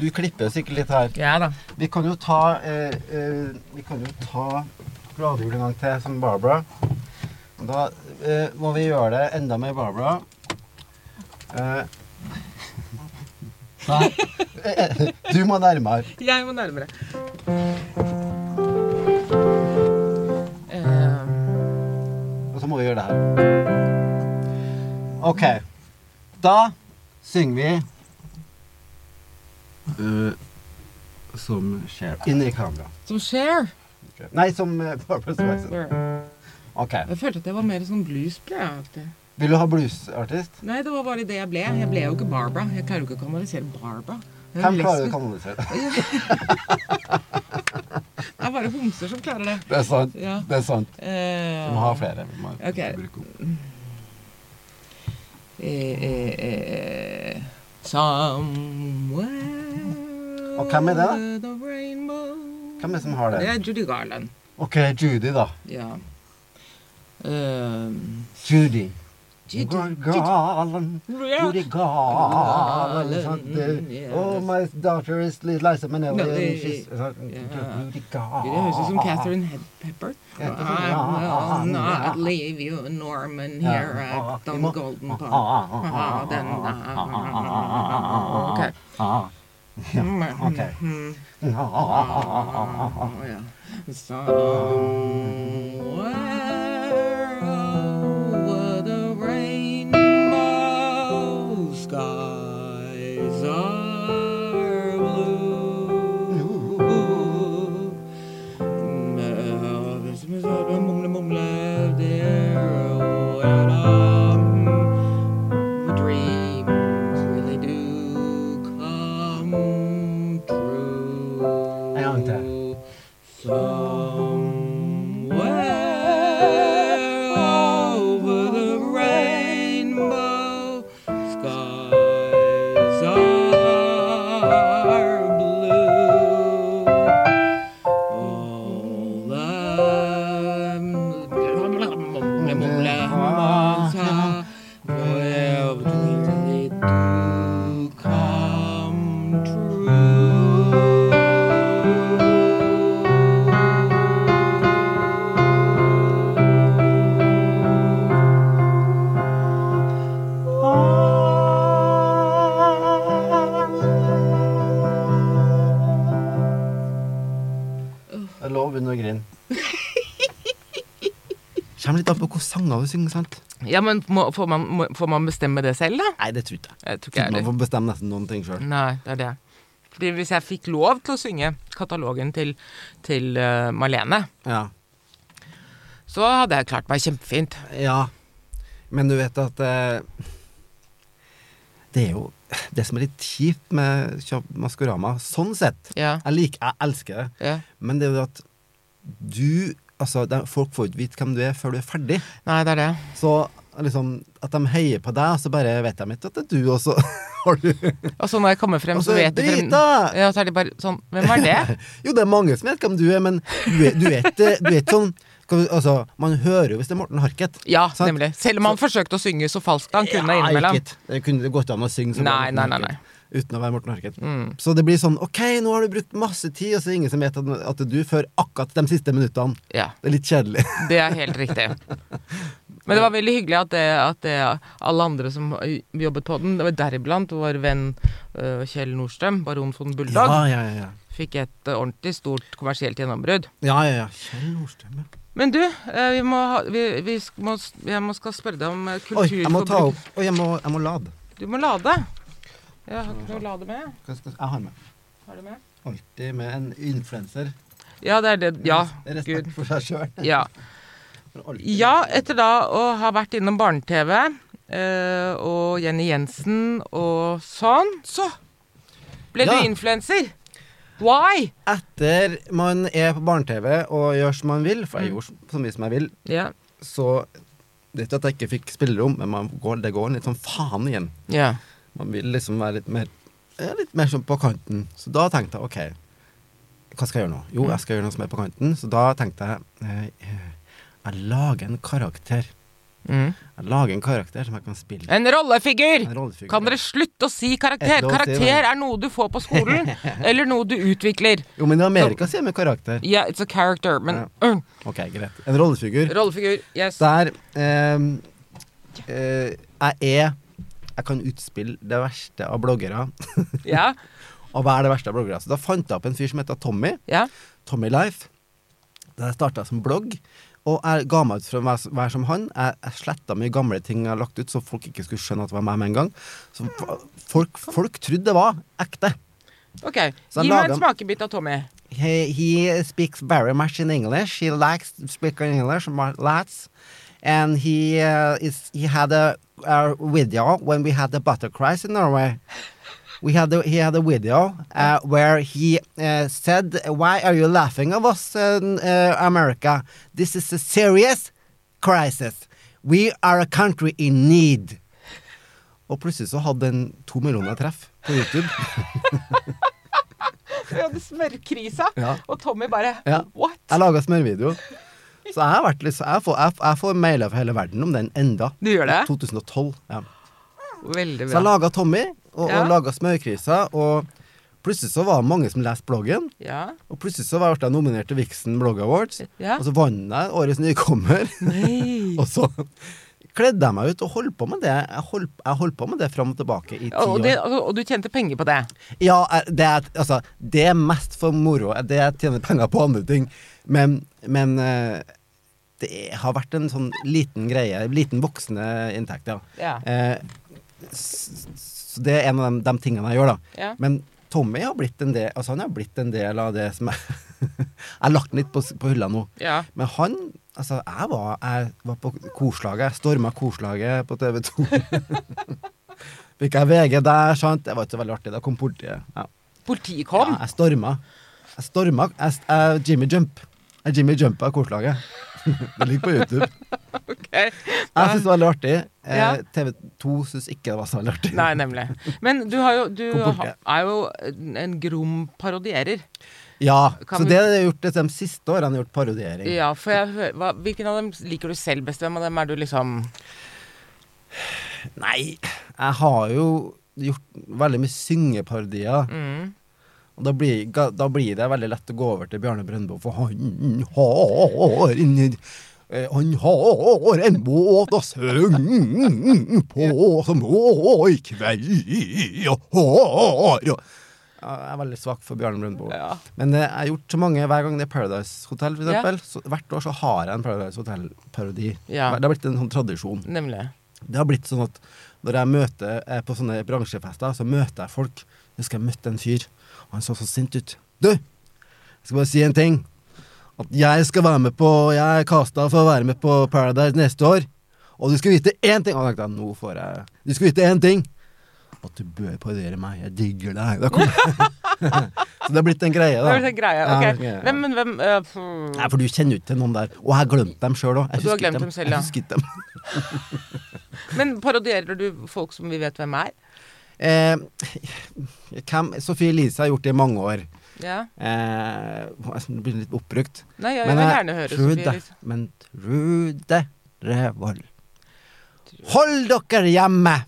Speaker 1: Du klipper sikkert litt her.
Speaker 2: Ja da.
Speaker 1: Vi kan jo ta eh, eh, Vi kan jo ta Glade jul en gang til, som Barbara. Da eh, må vi gjøre det enda mer Barbara. Eh. Nei. Eh, Du må nærmere.
Speaker 2: Jeg må nærmere. Eh,
Speaker 1: Og så må vi gjøre det her. OK. Da synger vi eh, Som skjer Inn i kamera.
Speaker 2: som Cher.
Speaker 1: Nei, som eh, Barbara Streisand.
Speaker 2: Jeg
Speaker 1: OK.
Speaker 2: følte at jeg var mer sånn blues-aktig.
Speaker 1: Vil du ha bluesartist?
Speaker 2: Nei, det var bare det jeg ble. Jeg ble jo ikke Barbara. Jeg klarer jo ikke å kanalisere Barbara. Jeg er
Speaker 1: Hvem klarer å
Speaker 2: lesbisk.
Speaker 1: kanalisere?
Speaker 2: Det er bare homser som klarer det.
Speaker 1: Det er sant.
Speaker 2: Ja.
Speaker 1: Det er sant.
Speaker 2: Eh,
Speaker 1: Vi må ha flere. Vi må
Speaker 2: Ok.
Speaker 1: bruke opp.
Speaker 2: eh, eh, eh, Somewhere
Speaker 1: Og hvem er det, da?
Speaker 2: over the rainbow.
Speaker 1: Hvem er det som har
Speaker 2: Det
Speaker 1: det?
Speaker 2: er Judy Garland.
Speaker 1: OK, Judy, da.
Speaker 2: Ja. Eh,
Speaker 1: Judy. You're galen, you're galen. sant? Det- Oh, my daughter is Liza Minnelli,
Speaker 2: No, det-
Speaker 1: and she's sånn. sant?
Speaker 2: ja.
Speaker 1: You're
Speaker 2: Det høres ut som
Speaker 1: galen.
Speaker 2: Catherine Hep- Hepburn. I
Speaker 1: Ah,
Speaker 2: will not leave you, Norman, here at the Golden Park. Ah, den, ah, ah, ah, ah, ah, ah, ah, ok.
Speaker 1: Ah,
Speaker 2: Mm,
Speaker 1: ok.
Speaker 2: mm,
Speaker 1: ah,
Speaker 2: ah, ja. Somewhere over the rainbow skies are blue. Mumle, mumle, there, when um, dreams really do come true.
Speaker 1: En gang til.
Speaker 2: Somewhere over the rainbow, skies are blue. All I'm- mumle, mumle, mumsa, will really do come
Speaker 1: Jeg lå å begynne å grine. Kommer litt an på hvilke sanger du synger, sant?
Speaker 2: true. Ja, men må, får, man, må, får man bestemme det selv, da?
Speaker 1: Nei, det tror jeg ikke.
Speaker 2: Jeg tror ikke jeg
Speaker 1: Man
Speaker 2: heller.
Speaker 1: får bestemme nesten noen ting sjøl.
Speaker 2: Nei, det er det. Fordi hvis jeg fikk lov til å synge katalogen til, til eh, Marlene,
Speaker 1: Ja.
Speaker 2: så hadde jeg klart meg kjempefint.
Speaker 1: ja. Men du vet at eh, Det er jo det som er litt kjipt med Kja- Maskorama, sånn sett.
Speaker 2: Ja,
Speaker 1: Jeg liker Jeg elsker det.
Speaker 2: ja.
Speaker 1: Men det er jo at du Altså, det, er- folk får ikke vite hvem du er før du er ferdig.
Speaker 2: Nei, det er det.
Speaker 1: Så liksom At de heier på deg, så bare vet de ikke at det er du, og så har du
Speaker 2: Og så når jeg kommer frem,
Speaker 1: Og
Speaker 2: så
Speaker 1: så
Speaker 2: vet de frem...
Speaker 1: Brita!
Speaker 2: Ja, så er de bare sånn Hvem var det?
Speaker 1: Jo, det er mange som vet hvem du er, men du er, du er, ikke, du er ikke sånn skal vi- Altså, man hører jo hvis det er Morten Harket.
Speaker 2: Ja,
Speaker 1: Sant?
Speaker 2: nemlig. Selv om han forsøkte å synge så falskt han kunne
Speaker 1: Ja,
Speaker 2: innimellom.
Speaker 1: ikke et- Det kunne gått an å synge som
Speaker 2: Nei,
Speaker 1: Morten
Speaker 2: nei, nei,
Speaker 1: Harket,
Speaker 2: nei.
Speaker 1: Uten å være Morten Harket.
Speaker 2: Mm.
Speaker 1: Så det blir sånn OK, nå har du brukt masse tid, og så er det ingen som vet at at det er du før akkurat de siste minuttene.
Speaker 2: Ja,
Speaker 1: Det er litt kjedelig.
Speaker 2: det er helt riktig. Men det var veldig hyggelig at, det, at det, alle andre som jobbet på den, det var deriblant vår venn øh, Kjell Nordstrøm, baron von Bulldog,
Speaker 1: ja, ja, ja.
Speaker 2: fikk et øh, ordentlig stort kommersielt gjennombrudd.
Speaker 1: Ja, ja, ja. Kjell Nordstrøm, ja.
Speaker 2: Men du, eh, vi må, ha- vi, vi sk- må, s- jeg må skal spørre deg om eh,
Speaker 1: Oi, jeg må ta opp
Speaker 2: kulturforbruk.
Speaker 1: Oi, jeg må, jeg må lade.
Speaker 2: Du må lade. Jeg har ikke noe å lade med.
Speaker 1: Hva skal- Jeg har med.
Speaker 2: Har du med?
Speaker 1: Alltid med en influenser.
Speaker 2: Ja, det er det. Ja.
Speaker 1: Respekt
Speaker 2: Gud.
Speaker 1: for seg sjøl.
Speaker 2: ja. Ja, etter da å ha vært innom barne-TV eh, og Jenny Jensen og sånn, så ble
Speaker 1: Ja.
Speaker 2: du influenser. Why?
Speaker 1: Etter man er på barne-TV og gjør som man vil,
Speaker 2: Mm.
Speaker 1: for jeg gjorde så mye som jeg vil,
Speaker 2: Ja.
Speaker 1: så det er ikke at jeg ikke fikk spillerom, men man går, det går litt sånn faen igjen.
Speaker 2: ja.
Speaker 1: Man vil liksom være litt mer eh, Litt mer sånn på kanten. Så da tenkte jeg OK, hva skal jeg gjøre nå? Jo, jeg skal gjøre noe som er på kanten, så da tenkte jeg eh, eh, Jeg lager en karakter.
Speaker 2: Mm.
Speaker 1: Jeg lager en karakter som jeg kan spille.
Speaker 2: En rollefigur!
Speaker 1: En rollefigur.
Speaker 2: Kan dere slutte å si karakter?
Speaker 1: Et lov å si det.
Speaker 2: Karakter er noe du får på skolen, eller noe du utvikler.
Speaker 1: Jo, men i Amerika sier vi karakter.
Speaker 2: Yeah, it's a character, men mm,
Speaker 1: OK, greit. En rollefigur.
Speaker 2: Rollefigur. Yes.
Speaker 1: Der ehm, eh, Jeg er Jeg kan utspille det verste av bloggere.
Speaker 2: Ja.
Speaker 1: Og hva er det verste av bloggere? Så da fant jeg opp en fyr som heter Tommy.
Speaker 2: ja.
Speaker 1: Tommy Life. Der jeg starta som blogg. Og jeg ga meg ut for å være- være som han. Jeg, jeg sletta mye gamle ting jeg har lagt ut, så folk ikke skulle skjønne at det var meg med en gang. Så f- folk, folk trodde det var ekte.
Speaker 2: Ok.
Speaker 1: Så
Speaker 2: Gi
Speaker 1: lager
Speaker 2: meg en
Speaker 1: han-
Speaker 2: smakebit av Tommy.
Speaker 1: He, he speaks very much in English. He likes speaking English mu- lots, and he uh, is he had a, a video when we had the butter crisis in Norway. We had the, he had a video uh, where he uh, said, "Why are you laughing at us in uh, America? This is a serious crisis. We are a country in need." Og plutselig så hadde den to millioner treff på YouTube.
Speaker 2: Vi hadde smørkrisa,
Speaker 1: Ja.
Speaker 2: og Tommy bare
Speaker 1: Ja.
Speaker 2: What?
Speaker 1: Jeg laga smørvideo. Så jeg har vært litt så jeg får, jeg, jeg får mailer fra hele verden om den enda.
Speaker 3: Du gjør det?
Speaker 1: 2012. Ja.
Speaker 3: Veldig
Speaker 1: Så jeg
Speaker 3: bra.
Speaker 1: laga Tommy, og,
Speaker 3: Ja.
Speaker 1: og laga smørkrisa, og plutselig så var det mange som leste bloggen.
Speaker 3: Ja.
Speaker 1: Og plutselig så ble jeg nominert til Vixen Blog Awards.
Speaker 3: Ja.
Speaker 1: Og så vant jeg Årets nykommer.
Speaker 3: Nei.
Speaker 1: Og så kledde jeg meg ut og holdt på med det. Jeg holdt, jeg holdt på med det fram og tilbake i ti
Speaker 3: Og,
Speaker 1: år.
Speaker 3: det, og, og du tjente penger på det?
Speaker 1: Ja, er- det er, altså, det er mest for moro. Det jeg tjener penger på andre ting. Men, men eh, det har vært en sånn liten greie. Liten voksende inntekt, ja.
Speaker 3: Ja.
Speaker 1: Eh, s- s- det er en av de, de tingene jeg gjør, da.
Speaker 3: Ja.
Speaker 1: Men Tommy har blitt en del, altså, han har blitt en del av det som jeg Jeg har lagt den litt på, s- på hylla nå.
Speaker 3: Ja.
Speaker 1: Men han Altså, jeg var, jeg var på korslaget. Jeg storma korslaget på TV 2. Fikk jeg VG der, sant? Det var ikke så veldig artig. Da kom politiet. Ja.
Speaker 3: Politiet
Speaker 1: Ja,
Speaker 3: kom?
Speaker 1: jeg storma. Jeg storma jeg, st- jeg, Jimmy Jump. Jeg Jimmy Jumpa korslaget. det ligger på YouTube.
Speaker 3: Ok.
Speaker 1: Jeg
Speaker 3: altså,
Speaker 1: syntes det var veldig artig. Eh,
Speaker 3: Ja.
Speaker 1: TV 2 syns ikke det var så veldig artig.
Speaker 3: Nei, nemlig. Men du, har jo, du
Speaker 1: Kom bort,
Speaker 3: ha- er jo en grom parodierer.
Speaker 1: Ja,
Speaker 3: Kan
Speaker 1: Så
Speaker 3: vi-
Speaker 1: det har jeg gjort de siste årene. Jeg har gjort parodiering.
Speaker 3: Ja, for jeg hører hva, Hvilken av dem liker du selv best? Hvem av dem er du liksom
Speaker 1: Nei, jeg har jo gjort veldig mye syngeparodier.
Speaker 3: mm.
Speaker 1: Og da blir, ga- da blir det veldig lett å gå over til Bjarne Brøndbo, for han har en eh, han har en båt å synge på som må i kveld og har og- Ja, Jeg er veldig svak for Bjarne Brøndbo.
Speaker 3: Ja.
Speaker 1: Men eh, jeg har gjort så mange hver gang det er Paradise Hotel, for
Speaker 3: Ja.
Speaker 1: eksempel. Så, hvert år så har jeg en Paradise Hotel-parodi.
Speaker 3: Ja.
Speaker 1: Det har blitt en sånn tradisjon.
Speaker 3: Nemlig.
Speaker 1: Det har blitt sånn at når jeg møter er på sånne bransjefester, så møter jeg folk. Jeg husker jeg møtte en fyr, og han så så sint ut. Du! Jeg skal bare si en ting. At jeg skal være med på Jeg er casta for å være med på Paradise neste år. Og du skal vite én ting! Og da tenkte jeg, nå får jeg Du skal vite én ting! At du bør parodiere meg. Jeg digger deg. Da kom så det har blitt en greie, da.
Speaker 3: Det var en greie.
Speaker 1: Ja,
Speaker 3: Ok.
Speaker 1: det er en greie, ja.
Speaker 3: Hvem, men hvem eh, pff.
Speaker 1: Nei, for du kjenner jo ikke til noen der. Og jeg har glemt dem sjøl òg.
Speaker 3: Du har glemt dem selv, ja.
Speaker 1: Jeg husket dem.
Speaker 3: Men parodierer du folk som vi vet hvem er?
Speaker 1: Eh, hvem, Sophie Elise har gjort det i mange år.
Speaker 3: Ja.
Speaker 1: Eh, jeg blir litt oppbrukt.
Speaker 3: Nei, jeg, jeg vil gjerne høre Sofie
Speaker 1: eh, Trude,
Speaker 3: Elise.
Speaker 1: men Trude Revold. Hold dere hjemme!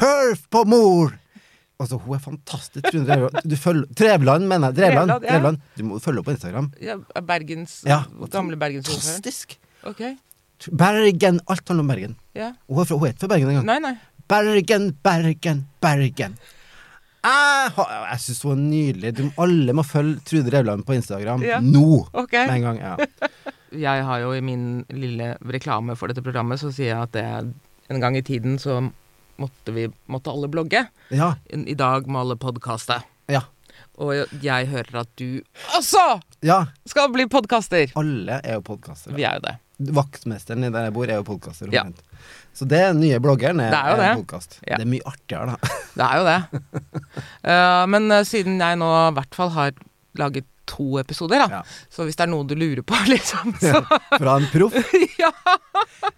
Speaker 1: Hør på mor! Altså, hun er fantastisk. Trude Revold. Du følger, Drevland, mener jeg. Drevland,
Speaker 3: Drevland, ja.
Speaker 1: Drevland. Du må følge henne på Instagram.
Speaker 3: Ja, Bergens
Speaker 1: Ja.
Speaker 3: Gamle Bergensordføreren.
Speaker 1: Fantastisk!
Speaker 3: Ok.
Speaker 1: Bergen. Alt handler om Bergen.
Speaker 3: Ja.
Speaker 1: Hun er, fra, hun er ikke fra Bergen engang.
Speaker 3: Nei, nei.
Speaker 1: Bergen, Bergen, Bergen. Jeg, har- jeg syns hun er nydelig. Du, alle må følge Trude Revland på Instagram
Speaker 3: Ja.
Speaker 1: nå.
Speaker 3: Ok.
Speaker 1: Med en gang. Ja.
Speaker 3: Jeg har jo i min lille reklame for dette programmet, så sier jeg at det, en gang i tiden så måtte vi måtte alle blogge.
Speaker 1: ja.
Speaker 3: I dag må alle podkaste.
Speaker 1: Ja.
Speaker 3: Og jeg hører at du også
Speaker 1: ja.
Speaker 3: skal bli podkaster!
Speaker 1: Alle er jo podkastere.
Speaker 3: Vi er jo det.
Speaker 1: Vaktmesteren i der jeg bor, er jo podkaster.
Speaker 3: Ja.
Speaker 1: omtrent. Så det er den nye bloggeren er,
Speaker 3: Det er jo
Speaker 1: er en
Speaker 3: det.
Speaker 1: podkast.
Speaker 3: Ja.
Speaker 1: Det er mye artigere, da.
Speaker 3: Det er jo det. Eh, men eh, siden jeg nå i hvert fall har laget to episoder, da,
Speaker 1: Ja.
Speaker 3: så hvis det er noe du lurer på, liksom, så
Speaker 1: Fra en proff.
Speaker 3: Ja!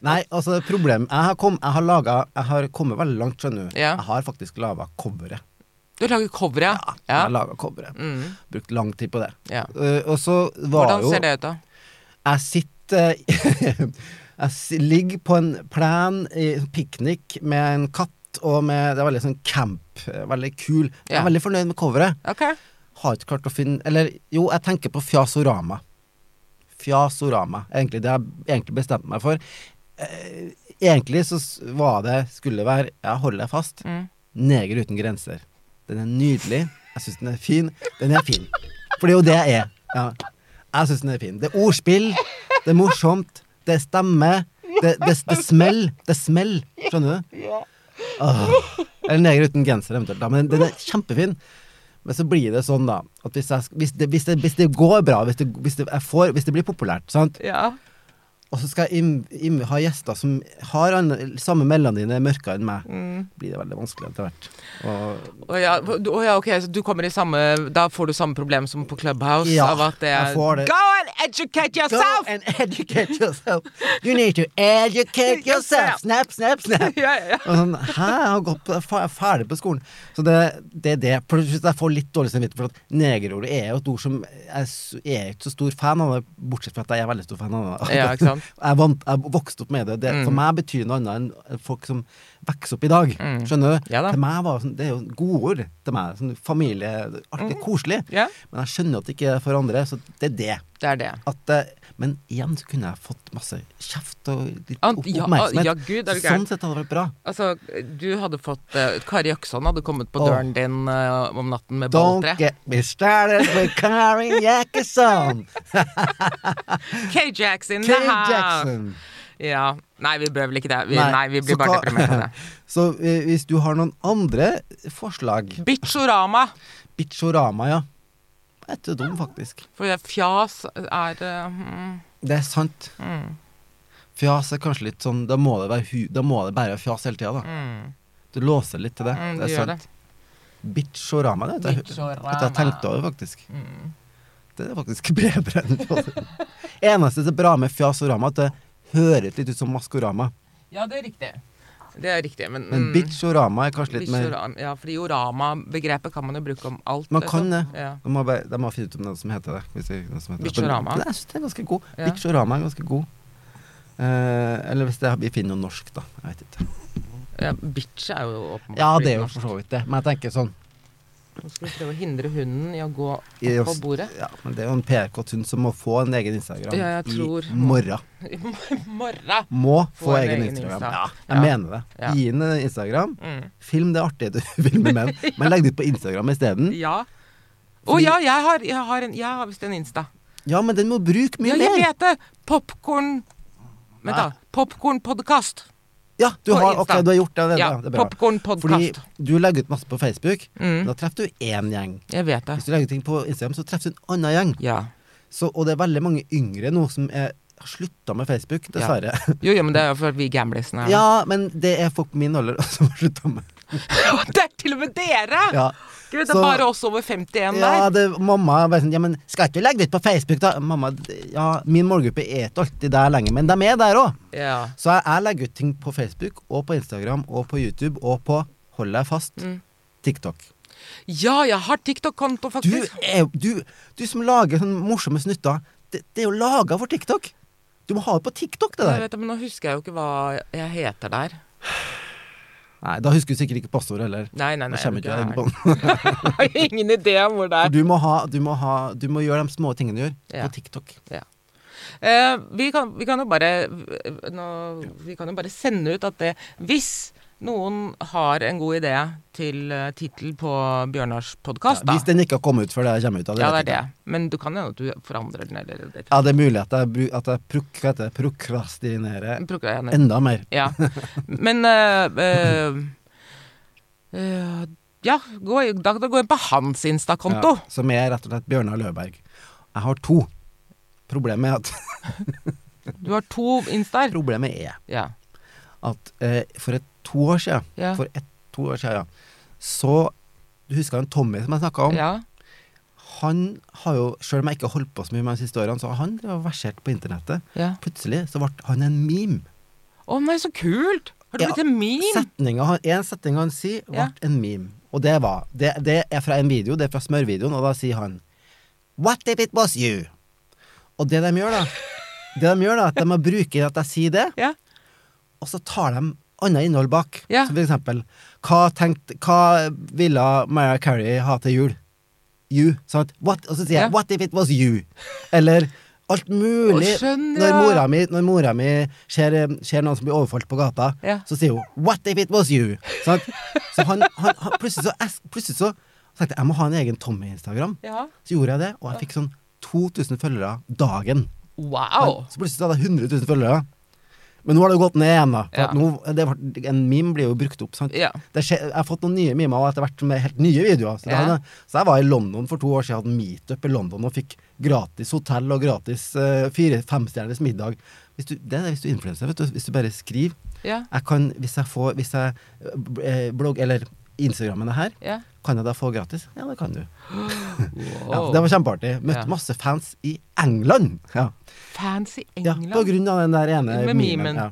Speaker 1: Nei, altså, problem Jeg har, kom, jeg har, laget, jeg har kommet veldig langt, skjønner du.
Speaker 3: Ja.
Speaker 1: Jeg har faktisk laga coveret.
Speaker 3: Du lager cover, ja.
Speaker 1: Jeg har
Speaker 3: ja.
Speaker 1: laget coveret.
Speaker 3: Mm,
Speaker 1: Brukt lang tid på det.
Speaker 3: ja.
Speaker 1: Eh, og så var
Speaker 3: Hvordan
Speaker 1: jo
Speaker 3: ser det ut, da?
Speaker 1: Jeg sitter Jeg si- ligger på en plen i piknik med en katt og med Det er veldig sånn camp. eh, Veldig kul. Jeg
Speaker 3: Ja.
Speaker 1: er veldig fornøyd med coveret.
Speaker 3: Ok.
Speaker 1: Har ikke klart å finne Eller jo, jeg tenker på Fjasorama. Fjasorama. Egentlig det jeg egentlig bestemte meg for. Eh, Egentlig så s- var det Skulle være Jeg holder deg fast.
Speaker 3: Mm.
Speaker 1: Neger uten grenser. Den er nydelig. Jeg syns den er fin. Den er fin. For det er jo det jeg er. Ja. Jeg syns den er fin. Det er ordspill, det er morsomt, det er stemme, det, det, det smell. Det er smell, skjønner du? Åh. Eller neger uten genser, eventuelt. Da. Men den er kjempefin. Men så blir det sånn, da, at hvis, jeg, sk- hvis, det, hvis, det, hvis det går bra, hvis det, hvis, det, jeg får, hvis det blir populært, sant,
Speaker 3: Ja.
Speaker 1: og så skal jeg im, im, ha gjester som har an, samme melanine mørkere enn meg,
Speaker 3: Mm.
Speaker 1: blir det veldig vanskelig etter hvert. Og
Speaker 3: Å ja, du- å ja, ok, så du kommer i samme Da får du samme problem som på Clubhouse
Speaker 1: Ja,
Speaker 3: av at det er
Speaker 1: jeg får det.
Speaker 3: Go and educate
Speaker 1: Go
Speaker 3: yourself!
Speaker 1: and educate yourself. You need to educate yourself. Snap, snap, snap.
Speaker 3: Ja, ja, ja.
Speaker 1: Og sånn, Hæ, jeg har gått på, jeg er fer- ferdig på skolen. Så det det er det. For jeg synes jeg får litt dårlig samvittighet, for at negerordet er jo et ord som jeg s- jeg er ikke så stor fan av, det, bortsett fra at jeg er veldig stor fan av det.
Speaker 3: Ja, ikke sant? Mm.
Speaker 1: Jeg, vant, jeg vokste opp med det. det For meg betyr det noe annet enn folk som vokser opp i dag. Skjønner du?
Speaker 3: Ja da.
Speaker 1: For meg var det sånn, det er jo godord til meg. Sånn familie, alt er koselig.
Speaker 3: Mm. Ja.
Speaker 1: Men jeg skjønner at det ikke er for andre, så det er det
Speaker 3: Det er det.
Speaker 1: at eh, Men igjen så kunne jeg fått masse kjeft og litt
Speaker 3: Ah,
Speaker 1: opp-
Speaker 3: ja,
Speaker 1: oppmerksomhet.
Speaker 3: ja, Gud, er du
Speaker 1: Så sånn
Speaker 3: gæren?
Speaker 1: sett hadde det vært bra.
Speaker 3: Altså, du hadde fått eh, Kari Jaksson hadde kommet på
Speaker 1: Åh.
Speaker 3: døren din eh, om natten med
Speaker 1: Don't
Speaker 3: balltre.
Speaker 1: get me started with Karin Jackson!
Speaker 3: Kay Jackson,
Speaker 1: Kay
Speaker 3: det her.
Speaker 1: Jackson!
Speaker 3: Ja. Nei, vi bør vel ikke det. Vi, nei. vi blir
Speaker 1: så
Speaker 3: bare
Speaker 1: hva-
Speaker 3: deprimert av det.
Speaker 1: Så eh, hvis du har noen andre forslag
Speaker 3: Bitchorama.
Speaker 1: Bitchorama, ja. Jeg er ikke dum, faktisk.
Speaker 3: For det fjas er eh, mm,
Speaker 1: Det er sant.
Speaker 3: mm,
Speaker 1: Fjas er kanskje litt sånn Da må det, være hu da må det bare være fjas hele tida, da.
Speaker 3: mm,
Speaker 1: Du låser litt til det. det
Speaker 3: mm, du
Speaker 1: er
Speaker 3: gjør det.
Speaker 1: sant. Bitchorama, det vet jeg.
Speaker 3: Bitchorama. Mm.
Speaker 1: At jeg tenkte over, faktisk. Det er faktisk bedre enn Eneste som er bra med fjas og rama, at det høres litt ut som Maskorama.
Speaker 3: Ja, det er riktig. Det er riktig, men,
Speaker 1: Men
Speaker 3: mm,
Speaker 1: bitch og rama er kanskje litt mer
Speaker 3: bitchorama- Ja, fordi orama-begrepet kan man jo bruke om alt.
Speaker 1: Man kan
Speaker 3: liksom.
Speaker 1: det.
Speaker 3: Ja.
Speaker 1: De må, bare, de må finne ut om noe som heter det. Hvis det er noe som heter det.
Speaker 3: Bitchorama.
Speaker 1: Men Jeg synes det er ganske god.
Speaker 3: Ja.
Speaker 1: Bitchorama er ganske god. Eh, eller hvis det, vi finner noe norsk, da. Jeg vet ikke.
Speaker 3: Ja, bitch er jo åpenbart
Speaker 1: Ja, det er jo
Speaker 3: norsk.
Speaker 1: for så vidt det. Men jeg tenker sånn
Speaker 3: Nå skal vi prøve å hindre hunden i å gå opp
Speaker 1: i
Speaker 3: på
Speaker 1: oss-
Speaker 3: bordet.
Speaker 1: Ja, men det er jo en PR-kåtun som må få en egen Instagram
Speaker 3: Ja, jeg tror-
Speaker 1: i morgen.
Speaker 3: I morgen!
Speaker 1: Må få egen, Instagram. Ja, jeg
Speaker 3: Ja.
Speaker 1: mener det.
Speaker 3: Ja.
Speaker 1: Gi den en Instagram.
Speaker 3: Mm.
Speaker 1: Film det artige du vil med menn, men legg det ut på Instagram isteden.
Speaker 3: Ja. Å ja, jeg har, jeg har, en, jeg har visst en Insta.
Speaker 1: Ja, men den må bruke mye
Speaker 3: Ja, jeg
Speaker 1: mer.
Speaker 3: vet det! Popkorn Vent, da.
Speaker 1: Nei.
Speaker 3: Popkornpodkast.
Speaker 1: Ja, du
Speaker 3: På
Speaker 1: har,
Speaker 3: Insta.
Speaker 1: ok, du har gjort det. det,
Speaker 3: Ja.
Speaker 1: det er bra. Fordi
Speaker 3: Popkornpodkast.
Speaker 1: du legger ut masse på Facebook,
Speaker 3: Mm.
Speaker 1: da treffer du én gjeng.
Speaker 3: Jeg vet det.
Speaker 1: Hvis du legger ut ting på Instagram, så treffer du en annen gjeng.
Speaker 3: Ja.
Speaker 1: Så, og det er veldig mange yngre nå som er har slutta med Facebook, dessverre.
Speaker 3: Jo, jo, men det er jo fordi vi gamlisene
Speaker 1: Ja.
Speaker 3: er det.
Speaker 1: men det er folk på min alder som har slutta med
Speaker 3: Det er til og med dere!
Speaker 1: Ja,
Speaker 3: Gud, det
Speaker 1: Så-
Speaker 3: er bare oss over 51
Speaker 1: ja
Speaker 3: der.
Speaker 1: det, mamma er bare sånn Ja, men skal ikke du legge det ut på Facebook, da? Mamma, ja, min målgruppe er ikke alltid der lenger, men de er der òg.
Speaker 3: Ja.
Speaker 1: Så jeg, jeg legger ut ting på Facebook og på Instagram og på YouTube og på, hold deg fast,
Speaker 3: Mm.
Speaker 1: TikTok.
Speaker 3: ja, jeg har TikTok-konto,
Speaker 1: Du,
Speaker 3: faktisk.
Speaker 1: er, jo- du, du som lager sånne morsomme snutter, det, det er jo laga for TikTok. Du må ha det på TikTok, det
Speaker 3: Jeg
Speaker 1: der.
Speaker 3: vet, det, men nå husker jeg jo ikke hva jeg heter der.
Speaker 1: Nei, da husker du sikkert ikke passordet heller.
Speaker 3: Nei,
Speaker 1: Da
Speaker 3: nei, nei.
Speaker 1: kommer
Speaker 3: jeg
Speaker 1: ikke jeg
Speaker 3: vet
Speaker 1: på
Speaker 3: ikke. Jeg har ingen idé om hvor det er.
Speaker 1: Du må, ha, du, må ha, du må gjøre de små tingene du gjør,
Speaker 3: Ja.
Speaker 1: på TikTok.
Speaker 3: Eh, vi, kan, vi kan jo bare eh, nå, Vi kan jo bare sende ut at det Hvis noen har en god idé til uh, tittel på Bjørnars podkast, da.
Speaker 1: hvis den ikke har kommet ut før det kommer ut. da,
Speaker 3: ja,
Speaker 1: vet
Speaker 3: det er
Speaker 1: jeg
Speaker 3: det.
Speaker 1: ikke.
Speaker 3: Men du kan jo hende at du forandrer den, eller det,
Speaker 1: Ja, det er mulig at jeg, bru- at jeg prok, hva heter det, prokrastinerer
Speaker 3: Plukker jeg ned.
Speaker 1: enda mer.
Speaker 3: Ja. Men eh, eh, eh, Ja, gå, i- da, da går jeg på hans Insta-konto.
Speaker 1: Ja, som er rett og slett Bjørnar Løberg. Jeg har to. Problemet er at
Speaker 3: Du har to Instaer.
Speaker 1: Problemet er
Speaker 3: Ja.
Speaker 1: at eh, for et, to år siden,
Speaker 3: Ja.
Speaker 1: for et, to år siden ja, så Du husker han Tommy som jeg snakka om?
Speaker 3: ja.
Speaker 1: Han har jo, Selv om jeg ikke har holdt på så mye med de siste årene, så har han drevet og versert på internettet.
Speaker 3: ja.
Speaker 1: Plutselig så ble han en meme.
Speaker 3: Å nei, så kult! Har du
Speaker 1: Ja,
Speaker 3: blitt en meme?
Speaker 1: Setninga han- En setning han sier, ble
Speaker 3: Ja.
Speaker 1: en meme. Og det var det, det er fra en video, det er fra smørvideoen, og da sier han What if it was you? Og det de gjør, da Det de gjør da, at de må bruke at jeg sier det,
Speaker 3: Ja.
Speaker 1: og så tar de annet innhold bak.
Speaker 3: Ja.
Speaker 1: Som for eksempel hva, tenkte- hva ville Mariah Carey ha til jul? You. Sant? What, og så sier
Speaker 3: Ja.
Speaker 1: jeg 'What if it was you?' Eller alt mulig.
Speaker 3: Å, skjønner,
Speaker 1: når
Speaker 3: ja.
Speaker 1: mora mi, når mora mi ser, ser noen som blir overfalt på gata,
Speaker 3: Ja.
Speaker 1: så sier hun 'What if it was you?' Sant? Så han, han, han plutselig så, es- plutselig så tenkte jeg jeg må ha en egen Tommy-instagram.
Speaker 3: Ja.
Speaker 1: Så gjorde jeg det, og jeg fikk sånn 2000 følgere dagen.
Speaker 3: Wow!
Speaker 1: Så plutselig så hadde jeg 100 000 følgere. Men nå har det gått ned igjen, da. For
Speaker 3: Ja.
Speaker 1: at nå, det, var- en meme blir jo brukt opp. Sant?
Speaker 3: Ja.
Speaker 1: Det skje, jeg har fått noen nye mimer og etter hvert med helt nye videoer. Så, det
Speaker 3: Ja.
Speaker 1: hadde- så jeg var i London for to år siden, hadde meetup i London og fikk gratis hotell og gratis uh, fire-femstjerners middag. Hvis du, det er det hvis du er influenser, vet du. Hvis du bare skriver.
Speaker 3: Ja.
Speaker 1: Jeg kan, hvis jeg får Hvis jeg eh, blogg... Eller Instagrammene her.
Speaker 3: Ja.
Speaker 1: Kan jeg da få gratis? Ja, det kan du. Ja,
Speaker 3: Wow.
Speaker 1: det var kjempeartig. Møtte
Speaker 3: Ja.
Speaker 1: masse fans i England. Ja.
Speaker 3: Fancy
Speaker 1: ja,
Speaker 3: England.
Speaker 1: På grunn av den der ene
Speaker 3: Med mimen.
Speaker 1: Ja.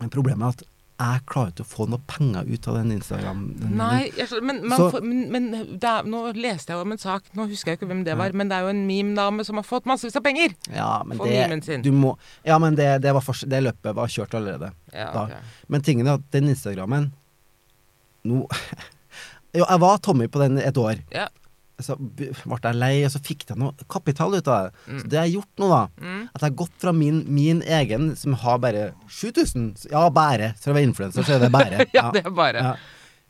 Speaker 1: Men problemet er at jeg klarer ikke å få noe penger ut av den Instagram. den-
Speaker 3: Nei, jeg, skjønner- men, man
Speaker 1: Så-
Speaker 3: får, men, men det er, nå leste jeg om en sak, nå husker jeg ikke hvem det var, men det er jo en meme-dame som har fått massevis av penger.
Speaker 1: Ja, men
Speaker 3: Få mimen
Speaker 1: det,
Speaker 3: sin.
Speaker 1: du må, ja, men det, det, var fors- det løpet var kjørt allerede.
Speaker 3: Ja,
Speaker 1: Da.
Speaker 3: ok.
Speaker 1: Men tingen er at den Instagrammen Nå Jo, jeg var Tommy på den et år.
Speaker 3: Ja.
Speaker 1: Så b- ble jeg lei, og så fikk jeg noe kapital ut av det.
Speaker 3: Mm.
Speaker 1: Så det jeg har gjort nå, da At jeg har gått fra min, min egen, som har bare 7000 Ja, bare. Så jeg var influenser, så er det bare.
Speaker 3: ja, det er bare
Speaker 1: Ja.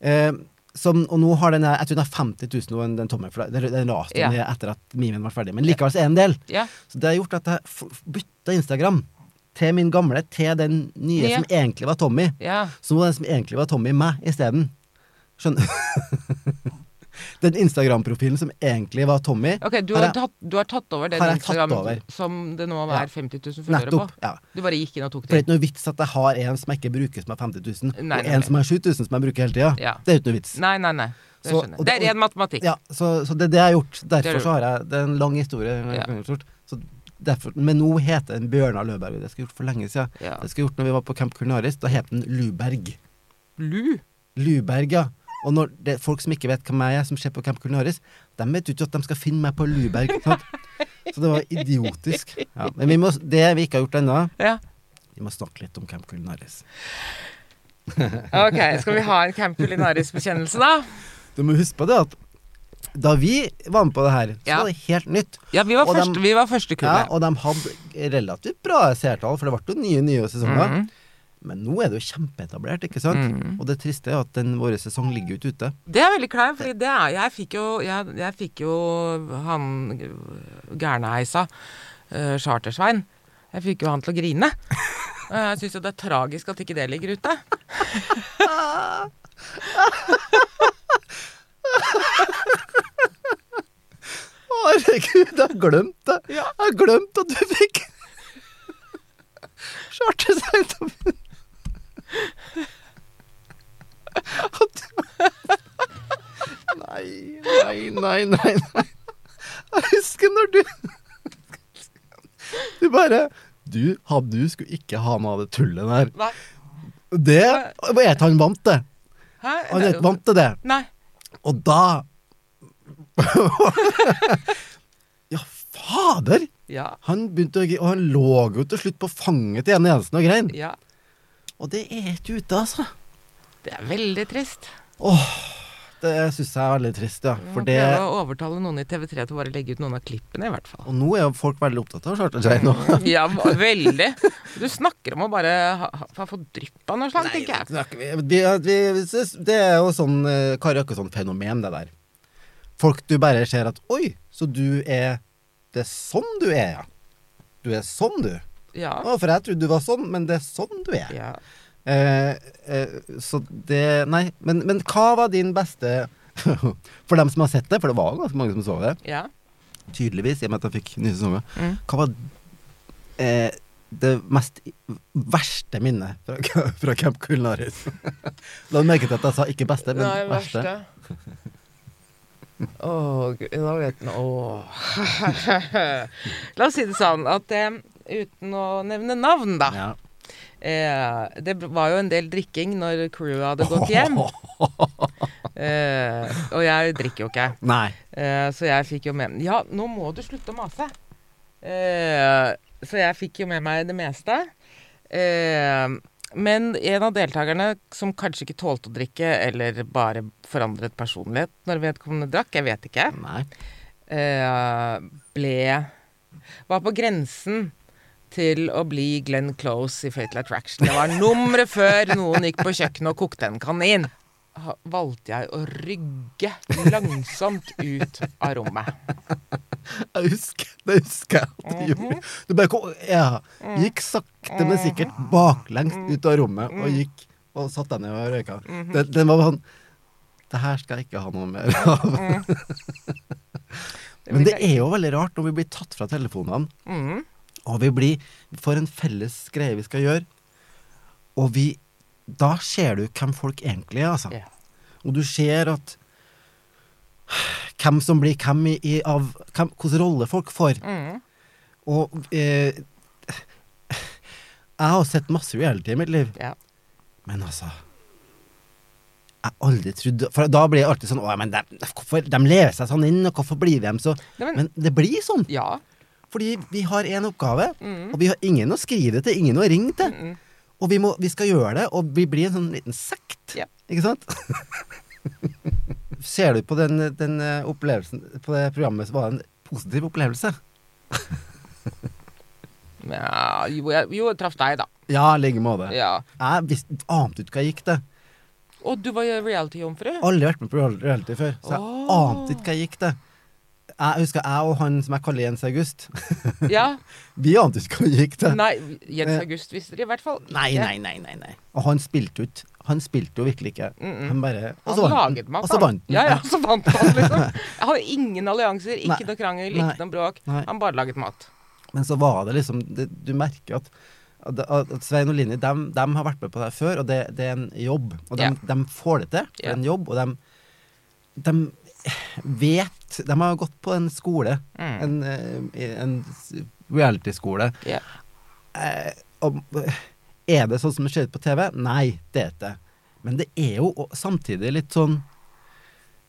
Speaker 1: Eh, som, og nå har den her- Jeg tror den har 50 000 nå, den- den tommelen. For den, den raste
Speaker 3: Ja.
Speaker 1: ned etter at memen var ferdig. Men likevel så er det en del.
Speaker 3: Ja.
Speaker 1: Så det har gjort at jeg f- bytta Instagram til min gamle, til den nye
Speaker 3: Nye.
Speaker 1: som egentlig var Tommy.
Speaker 3: ja.
Speaker 1: Så nå er den som egentlig var Tommy, meg isteden. Skjønner Den Instagram-profilen som egentlig var Tommy,
Speaker 3: Ok, du
Speaker 1: Har
Speaker 3: har,
Speaker 1: jeg-
Speaker 3: tatt, du har tatt over den
Speaker 1: Har jeg tatt
Speaker 3: Instagram
Speaker 1: over?
Speaker 3: som det nå
Speaker 1: Ja.
Speaker 3: er 50 000 følgere på?
Speaker 1: nettopp. Ja.
Speaker 3: Du bare gikk inn og tok
Speaker 1: For det
Speaker 3: det?
Speaker 1: er ikke noe vits at jeg har en som jeg ikke bruker, som er 50 000,
Speaker 3: Nei, nei,
Speaker 1: og
Speaker 3: nei.
Speaker 1: en som er 7000, som jeg bruker hele tida.
Speaker 3: Ja.
Speaker 1: Det er jo ikke noe vits.
Speaker 3: Nei, nei, nei. Det
Speaker 1: Så-
Speaker 3: skjønner
Speaker 1: og
Speaker 3: jeg. Det
Speaker 1: det-
Speaker 3: er ren matematikk.
Speaker 1: Ja, så, så det er det jeg har gjort.
Speaker 3: Det
Speaker 1: Derfor
Speaker 3: har du
Speaker 1: så har jeg Det er en lang historie.
Speaker 3: Ja.
Speaker 1: Kort. Så derfor, men nå heter den Bjørnar Løberg. Det skulle jeg gjort for lenge siden.
Speaker 3: Ja.
Speaker 1: Det skulle jeg gjort når vi var på Camp Culinaris. Da het den Luberg.
Speaker 3: Lu?
Speaker 1: Luberg, ja. Og når det er folk som ikke vet hvem jeg er, som ser på Camp Culinaris, de vet jo ikke at de skal finne meg på Luberg. Sant? Så det var idiotisk. Ja. Men vi må, det vi ikke har gjort ennå,
Speaker 3: Ja.
Speaker 1: vi må snakke litt om Camp Culinaris.
Speaker 3: Ok, skal vi ha en Camp Culinaris-bekjennelse, da?
Speaker 1: Du må huske på det at da vi var med på det her, så
Speaker 3: Ja.
Speaker 1: var det helt nytt.
Speaker 3: Ja, vi var,
Speaker 1: Og
Speaker 3: første,
Speaker 1: dem-
Speaker 3: vi var første
Speaker 1: Ja,
Speaker 3: kullet.
Speaker 1: og de hadde relativt bra seertall, for det ble jo nye nye sesonger.
Speaker 3: Mhm.
Speaker 1: Men nå er det jo kjempeetablert, ikke sant? Og det triste er at den vår sesong ligger jo ikke ute.
Speaker 3: Det er veldig kleint, fordi det er Jeg fikk jo, jeg, jeg fikk jo han gærneheisa, uh, Chartersvein, jeg fikk jo han til å grine. Og jeg syns jo det er tragisk at ikke det ligger ute.
Speaker 1: Herregud, jeg har glemt det! Jeg har glemt at du fikk Charter seg ut av At du- Nei, nei, nei, nei, nei. Jeg husker når du Du bare Du, ha- du skulle ikke ha med det tullet der.
Speaker 3: Nei.
Speaker 1: Det vet han vant til.
Speaker 3: Hæ?
Speaker 1: Han er vant til det.
Speaker 3: Nei.
Speaker 1: Og da Ja, fader!
Speaker 3: Ja.
Speaker 1: Han begynte å, gri- og han lå jo til slutt på fanget til Jenny Jensen og grein.
Speaker 3: Ja.
Speaker 1: Og det er ikke ute, altså.
Speaker 3: Det er veldig trist.
Speaker 1: Det syns jeg er veldig trist, ja.
Speaker 3: Vi må
Speaker 1: For det,
Speaker 3: prøve å overtale noen i TV3 til å bare legge ut noen av klippene, i hvert fall.
Speaker 1: og nå er jo folk veldig opptatt av Charter Jane nå.
Speaker 3: Ja, veldig. Du snakker om å bare ha, ha, ha fått drypp av noe slags, tenker jeg.
Speaker 1: snakker vi- vi- at vi- vi synes- Det er jo sånn eh, Kari Jakkesson-fenomen, det der. Folk du bare ser at Oi, så du er Det er sånn du er, ja. Du er sånn, du.
Speaker 3: Ja.
Speaker 1: Å, for jeg trodde du var sånn, men det er sånn du er.
Speaker 3: ja.
Speaker 1: Eh, eh, så det Nei. Men, men hva var din beste For dem som har sett det, for det var ganske mange som så det,
Speaker 3: ja.
Speaker 1: tydeligvis, i og med at jeg fikk nye sesonger.
Speaker 3: Mm.
Speaker 1: Hva var eh, det mest i- verste minnet fra, fra Camp Culinaris? La du merke til at jeg sa ikke beste, men
Speaker 3: Nei,
Speaker 1: verste.
Speaker 3: Å, gud, nå vet den Å. La oss si det sånn at eh, uten å nevne navn, da
Speaker 1: Ja.
Speaker 3: eh, Det bl- var jo en del drikking når crewet hadde gått hjem. Eh, og jeg drikker jo ikke,
Speaker 1: Nei.
Speaker 3: eh, så jeg fikk jo med Ja, nå må du slutte å mase! Eh, så jeg fikk jo med meg det meste. Eh, men en av deltakerne som kanskje ikke tålte å drikke, eller bare forandret personlighet når vedkommende drakk, jeg vet ikke,
Speaker 1: Nei.
Speaker 3: eh, ble Var på grensen til å bli Glenn Close i Fatal Attraction. Det var nummeret før noen gikk på kjøkkenet og kokte en kanin. Ha- Valgte jeg å rygge langsomt ut av rommet.
Speaker 1: Jeg husker, det husker jeg. at Du, gjorde. du bare kom, ja, gikk sakte, men sikkert baklengs ut av rommet og gikk og satte deg ned og røyka. Den, den var sånn Det her skal jeg ikke ha noe mer av. Men det er jo veldig rart når vi blir tatt fra telefonene,
Speaker 3: Mhm.
Speaker 1: og vi blir for en felles greie vi skal gjøre, og vi Da ser du hvem folk egentlig er, altså.
Speaker 3: Ja.
Speaker 1: Og du ser at hvem som blir hvem i, i av hvem, Hvilken rolle folk får.
Speaker 3: Mm.
Speaker 1: Og eh, Jeg har sett masse reality i mitt liv,
Speaker 3: Ja.
Speaker 1: men altså jeg aldri trodde, for Da blir jeg alltid sånn Å, men de, hvorfor, de lever seg sånn inn, og hvorfor blir de så
Speaker 3: Nei, men-
Speaker 1: Men det blir sånn.
Speaker 3: ja.
Speaker 1: Fordi vi har én oppgave,
Speaker 3: Mm.
Speaker 1: og vi har ingen å skrive til, ingen å ringe til. Og vi, må, vi skal gjøre det, og vi blir en sånn liten sekt.
Speaker 3: Ja.
Speaker 1: Ikke sant? Ser du på den, den eh, opplevelsen på det programmet som var det en positiv opplevelse?
Speaker 3: Ja, jo, jeg, jo, jeg traff deg, da.
Speaker 1: Ja, i like måte.
Speaker 3: Ja.
Speaker 1: Jeg visste, ante ikke hva jeg gikk til.
Speaker 3: Og du var jo reality-jomfru.
Speaker 1: Aldri vært med på reality før, så jeg
Speaker 3: Åh.
Speaker 1: ante ikke hva jeg gikk til. Jeg husker jeg og han som jeg kaller Jens August,
Speaker 3: Ja.
Speaker 1: vi ante ikke hva vi gikk til.
Speaker 3: Nei, Jens
Speaker 1: Eh.
Speaker 3: August visste det i hvert fall. ikke.
Speaker 1: Nei, nei, nei, nei, nei. Og han spilte ut. Han spilte jo virkelig ikke. Han bare Og
Speaker 3: Han
Speaker 1: så vant
Speaker 3: laget
Speaker 1: han.
Speaker 3: meg,
Speaker 1: Og så vant han.
Speaker 3: Ja, ja, så vant han, liksom. Jeg har ingen allianser,
Speaker 1: Nei.
Speaker 3: ikke noe krangel,
Speaker 1: Nei.
Speaker 3: ikke noe bråk.
Speaker 1: Nei.
Speaker 3: Han bare laget mat.
Speaker 1: Men så var det liksom det, Du merker at at, at Svein og Linni dem, dem har vært med på det her før, og det, det er en jobb. Og de,
Speaker 3: Ja.
Speaker 1: får det til. Det er
Speaker 3: Ja.
Speaker 1: en jobb, og de, vet De har gått på en skole,
Speaker 3: Mm.
Speaker 1: en, eh, en s- reality-skole.
Speaker 3: Ja.
Speaker 1: Eh, og, er det sånn som det ser ut på TV? Nei, det er ikke det. Men det er jo og samtidig litt sånn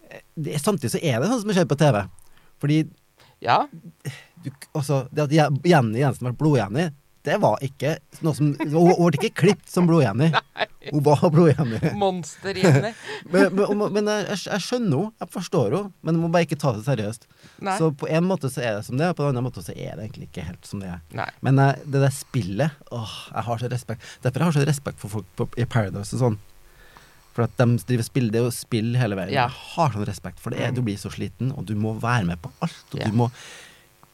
Speaker 1: eh, det, er- Samtidig så er det sånn som det ser ut på TV. Fordi
Speaker 3: ja.
Speaker 1: du, altså, det at Je- Jenny Jensen var blod-Jenny, det var ikke noe som Hun hun ble ikke klippet som blod-Jenny. Hun var blod-Jenny.
Speaker 3: Monster igjen.
Speaker 1: Men, men, men jeg, jeg- jeg skjønner henne, jeg forstår henne, men hun må bare ikke ta det seriøst.
Speaker 3: Nei.
Speaker 1: Så på en måte så er det som det er, på en annen måte så er det egentlig ikke helt som det er.
Speaker 3: Nei.
Speaker 1: Men jeg, det der spillet, åh, jeg har så respekt Derfor har jeg så respekt for folk på, i Paradise og sånn. For at de driver spill, det er jo spill hele veien.
Speaker 3: Ja. Mm.
Speaker 1: Jeg har sånn respekt for det. er- Du blir så sliten, og du må være med på alt. Og
Speaker 3: Ja.
Speaker 1: du må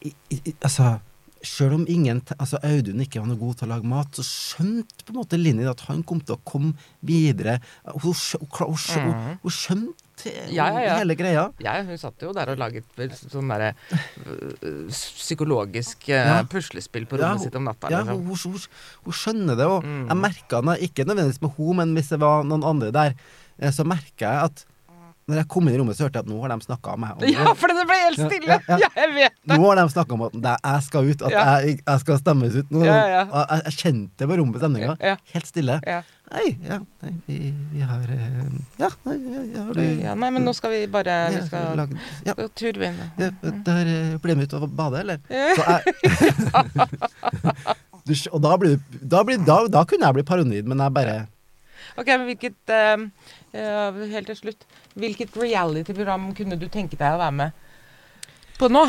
Speaker 1: i, i, i- Altså, sjøl om ingen te- Altså, Audun ikke var noe god til å lage mat, så skjønte på en måte Linni at han kom til å komme videre. Hun, skjø- hun, kla- hun, skjø- hun, hun skjønte
Speaker 3: Mm. Ja, ja, ja.
Speaker 1: hele greia.
Speaker 3: Jeg, hun satt jo der og laget vel sånn derre øh, psykologisk øh,
Speaker 1: Ja.
Speaker 3: puslespill på rommet
Speaker 1: hun-
Speaker 3: sitt om natta.
Speaker 1: Ja,
Speaker 3: liksom. Mm.
Speaker 1: hun, hun, hun, hun skjønner det, og jeg merka det ikke nødvendigvis med henne, men hvis det var noen andre der, eh, så merka jeg at når jeg kom inn i rommet, så hørte jeg at nå har de snakka om meg. Og
Speaker 3: Ja,
Speaker 1: nå,
Speaker 3: for det ble helt
Speaker 1: Ja,
Speaker 3: stille!
Speaker 1: ja,
Speaker 3: Ja,
Speaker 1: ja.
Speaker 3: jeg vet det!
Speaker 1: nå har de snakka om at det- jeg skal ut, at
Speaker 3: Ja.
Speaker 1: jeg, jeg skal stemmes ut. Nå,
Speaker 3: Ja, ja, ja.
Speaker 1: Og Jeg, jeg kjente det på rommet stemninga.
Speaker 3: Ja, ja.
Speaker 1: Helt stille.
Speaker 3: Ja.
Speaker 1: Nei, ja, nei, vi, vi har eh, Ja, nei, ja, ja, har du
Speaker 3: Ja, nei, men nå skal vi bare Vi
Speaker 1: ja,
Speaker 3: skal
Speaker 1: lagd- ja,
Speaker 3: gå tur, vi. nå.
Speaker 1: ja, der eh, blir de ute og bader, eller? Så jeg, du, skj- og da, blir, du- da, blir, da, da kunne jeg bli paranoid, men jeg bare
Speaker 3: Ok, men hvilket eh, eh, Helt til slutt. Hvilket reality-program kunne du tenke deg å være med på nå?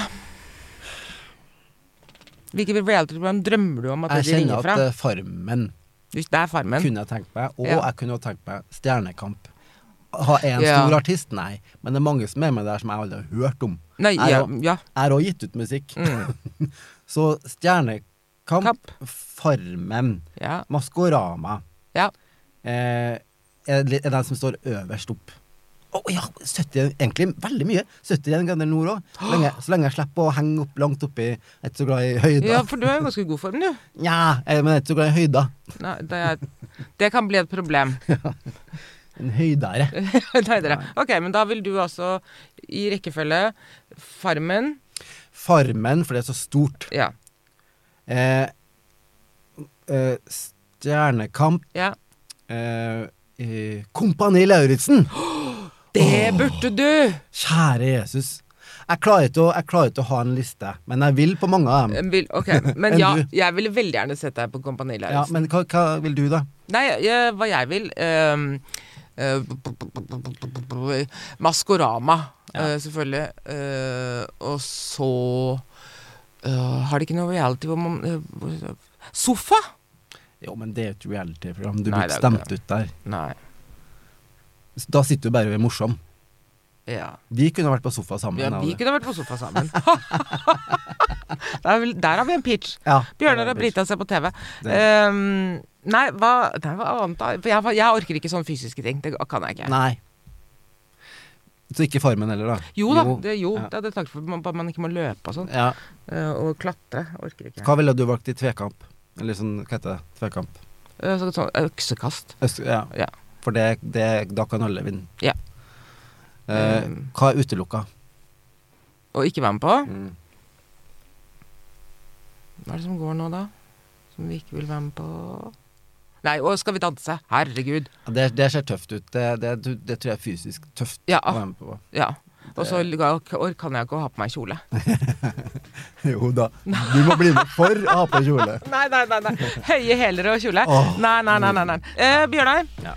Speaker 3: Hvilket reality-program drømmer du om at
Speaker 1: Jeg
Speaker 3: de
Speaker 1: kjenner
Speaker 3: ringer fra?
Speaker 1: at eh, Farmen
Speaker 3: Hvis det er Farmen.
Speaker 1: kunne jeg tenkt meg, og
Speaker 3: Ja.
Speaker 1: jeg kunne jo tenkt meg Stjernekamp. Ha én
Speaker 3: Ja.
Speaker 1: stor artist? Nei. Men det er mange som er med der som jeg aldri har hørt om.
Speaker 3: Nei,
Speaker 1: Jeg
Speaker 3: ja,
Speaker 1: òg.
Speaker 3: ja.
Speaker 1: Jeg har òg gitt ut musikk.
Speaker 3: Mm.
Speaker 1: Så Stjernekamp,
Speaker 3: Kapp.
Speaker 1: Farmen,
Speaker 3: Ja.
Speaker 1: Maskorama
Speaker 3: ja.
Speaker 1: eh, er det er den som står øverst opp. Å ja, 70, egentlig veldig mye. 71 grader nord òg. Så, lenge- så lenge jeg slipper å henge opp langt oppi. Jeg er ikke så glad i høyder.
Speaker 3: ja, for du er jo i ganske god form, du.
Speaker 1: Nja, jeg, men jeg er ikke så glad i høyder.
Speaker 3: Nei, det, er, det kan bli et problem.
Speaker 1: En høydere.
Speaker 3: Nei, dere. Ok, men da vil du altså i rekkefølge Farmen.
Speaker 1: Farmen, for det er så stort.
Speaker 3: Ja.
Speaker 1: Eh, eh, stjernekamp
Speaker 3: ja.
Speaker 1: eh, eh, Kompani Lauritzen!
Speaker 3: Det burde du!
Speaker 1: Kjære Jesus. Jeg klarer, ikke å, jeg klarer ikke å ha en liste, men jeg vil på mange av dem.
Speaker 3: Vil, ok, Men
Speaker 1: Enn
Speaker 3: ja,
Speaker 1: du?
Speaker 3: jeg ville veldig gjerne sett deg på Kompani
Speaker 1: Ja,
Speaker 3: Lauritzen.
Speaker 1: men hva, hva vil du, da?
Speaker 3: Nei, jeg, hva jeg vil ehm, eh, b- b- b- b- b- b- b- Maskorama, eh, selvfølgelig. Eh, og så eh, Har de ikke noe reality hvor man eh, hvor- Sofa?
Speaker 1: Jo, men det er jo et reality-program. Du
Speaker 3: Nei,
Speaker 1: blir
Speaker 3: det
Speaker 1: ikke
Speaker 3: er jo
Speaker 1: stemt
Speaker 3: ikke
Speaker 1: ut der.
Speaker 3: Nei.
Speaker 1: Så Da sitter du bare og er morsom.
Speaker 3: Ja.
Speaker 1: Vi kunne vært på sofa sammen.
Speaker 3: ja
Speaker 1: av
Speaker 3: vi
Speaker 1: det.
Speaker 3: kunne vært på sofa sammen. der, er vel- der har vi en pitch.
Speaker 1: Ja,
Speaker 3: Bjørnar
Speaker 1: det
Speaker 3: og
Speaker 1: er
Speaker 3: Brita ser på TV.
Speaker 1: Det-
Speaker 3: Ehm, nei, hva, nei, hva annet da? For jeg, jeg orker ikke sånne fysiske ting. Det kan jeg ikke.
Speaker 1: Nei. Så ikke Farmen heller, da?
Speaker 3: Jo da, det, jo,
Speaker 1: Ja.
Speaker 3: det hadde jeg snakket for man, man ikke må løpe og sånn.
Speaker 1: Ja.
Speaker 3: Eh, og klatre. Orker ikke.
Speaker 1: Hva ville du valgt i tvekamp? Eller sånn, hva heter det? Tvekamp.
Speaker 3: Eh, så, sånn øksekast.
Speaker 1: Øst, ja.
Speaker 3: Ja.
Speaker 1: For det, det, da kan alle vinne.
Speaker 3: Ja.
Speaker 1: Eh,
Speaker 3: Mm.
Speaker 1: hva er utelukka?
Speaker 3: Og ikke være med på. Hva er det som går nå, da? Som vi ikke vil være med på? Nei, å, skal vi danse? Herregud.
Speaker 1: Ja, Det, det ser tøft ut. Det, det, det tror jeg er fysisk tøft
Speaker 3: Ja.
Speaker 1: å være med på.
Speaker 3: Ja. Og så ga- or- kan jeg ikke å ha på meg kjole.
Speaker 1: Jo da. Du må bli med for å ha på kjole.
Speaker 3: Nei, nei, nei. nei. Høye hæler og kjole.
Speaker 1: Åh.
Speaker 3: Nei, nei, nei. nei, nei. Eh, Bjørnar,
Speaker 1: Ja.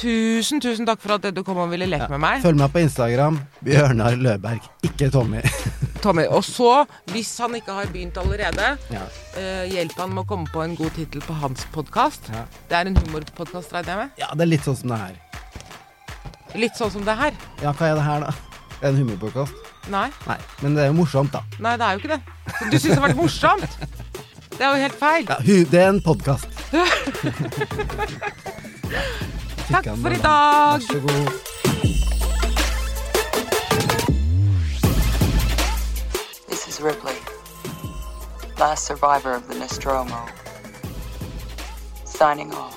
Speaker 3: tusen, tusen takk for at du kom og ville leke med meg.
Speaker 1: Følg meg på Instagram. Bjørnar Løberg, ikke Tommy.
Speaker 3: Tommy. Og så, hvis han ikke har begynt allerede,
Speaker 1: Ja.
Speaker 3: eh, hjelp han med å komme på en god tittel på hans podkast.
Speaker 1: Ja.
Speaker 3: Det er en humorpodkast, regner jeg med.
Speaker 1: ja, det er litt sånn som det her.
Speaker 3: Litt sånn som det her.
Speaker 1: Ja, hva er det her, da? En humorpodkast?
Speaker 3: Nei,
Speaker 1: Nei, men det er jo morsomt, da.
Speaker 3: nei, det er jo ikke det. Du syns det har vært morsomt? Det er jo helt feil.
Speaker 1: Ja, hu, det er en podkast.
Speaker 3: Takk for i dag.
Speaker 1: Vær så god.
Speaker 4: This is Ripley, last survivor of the Nostromo. Signing off.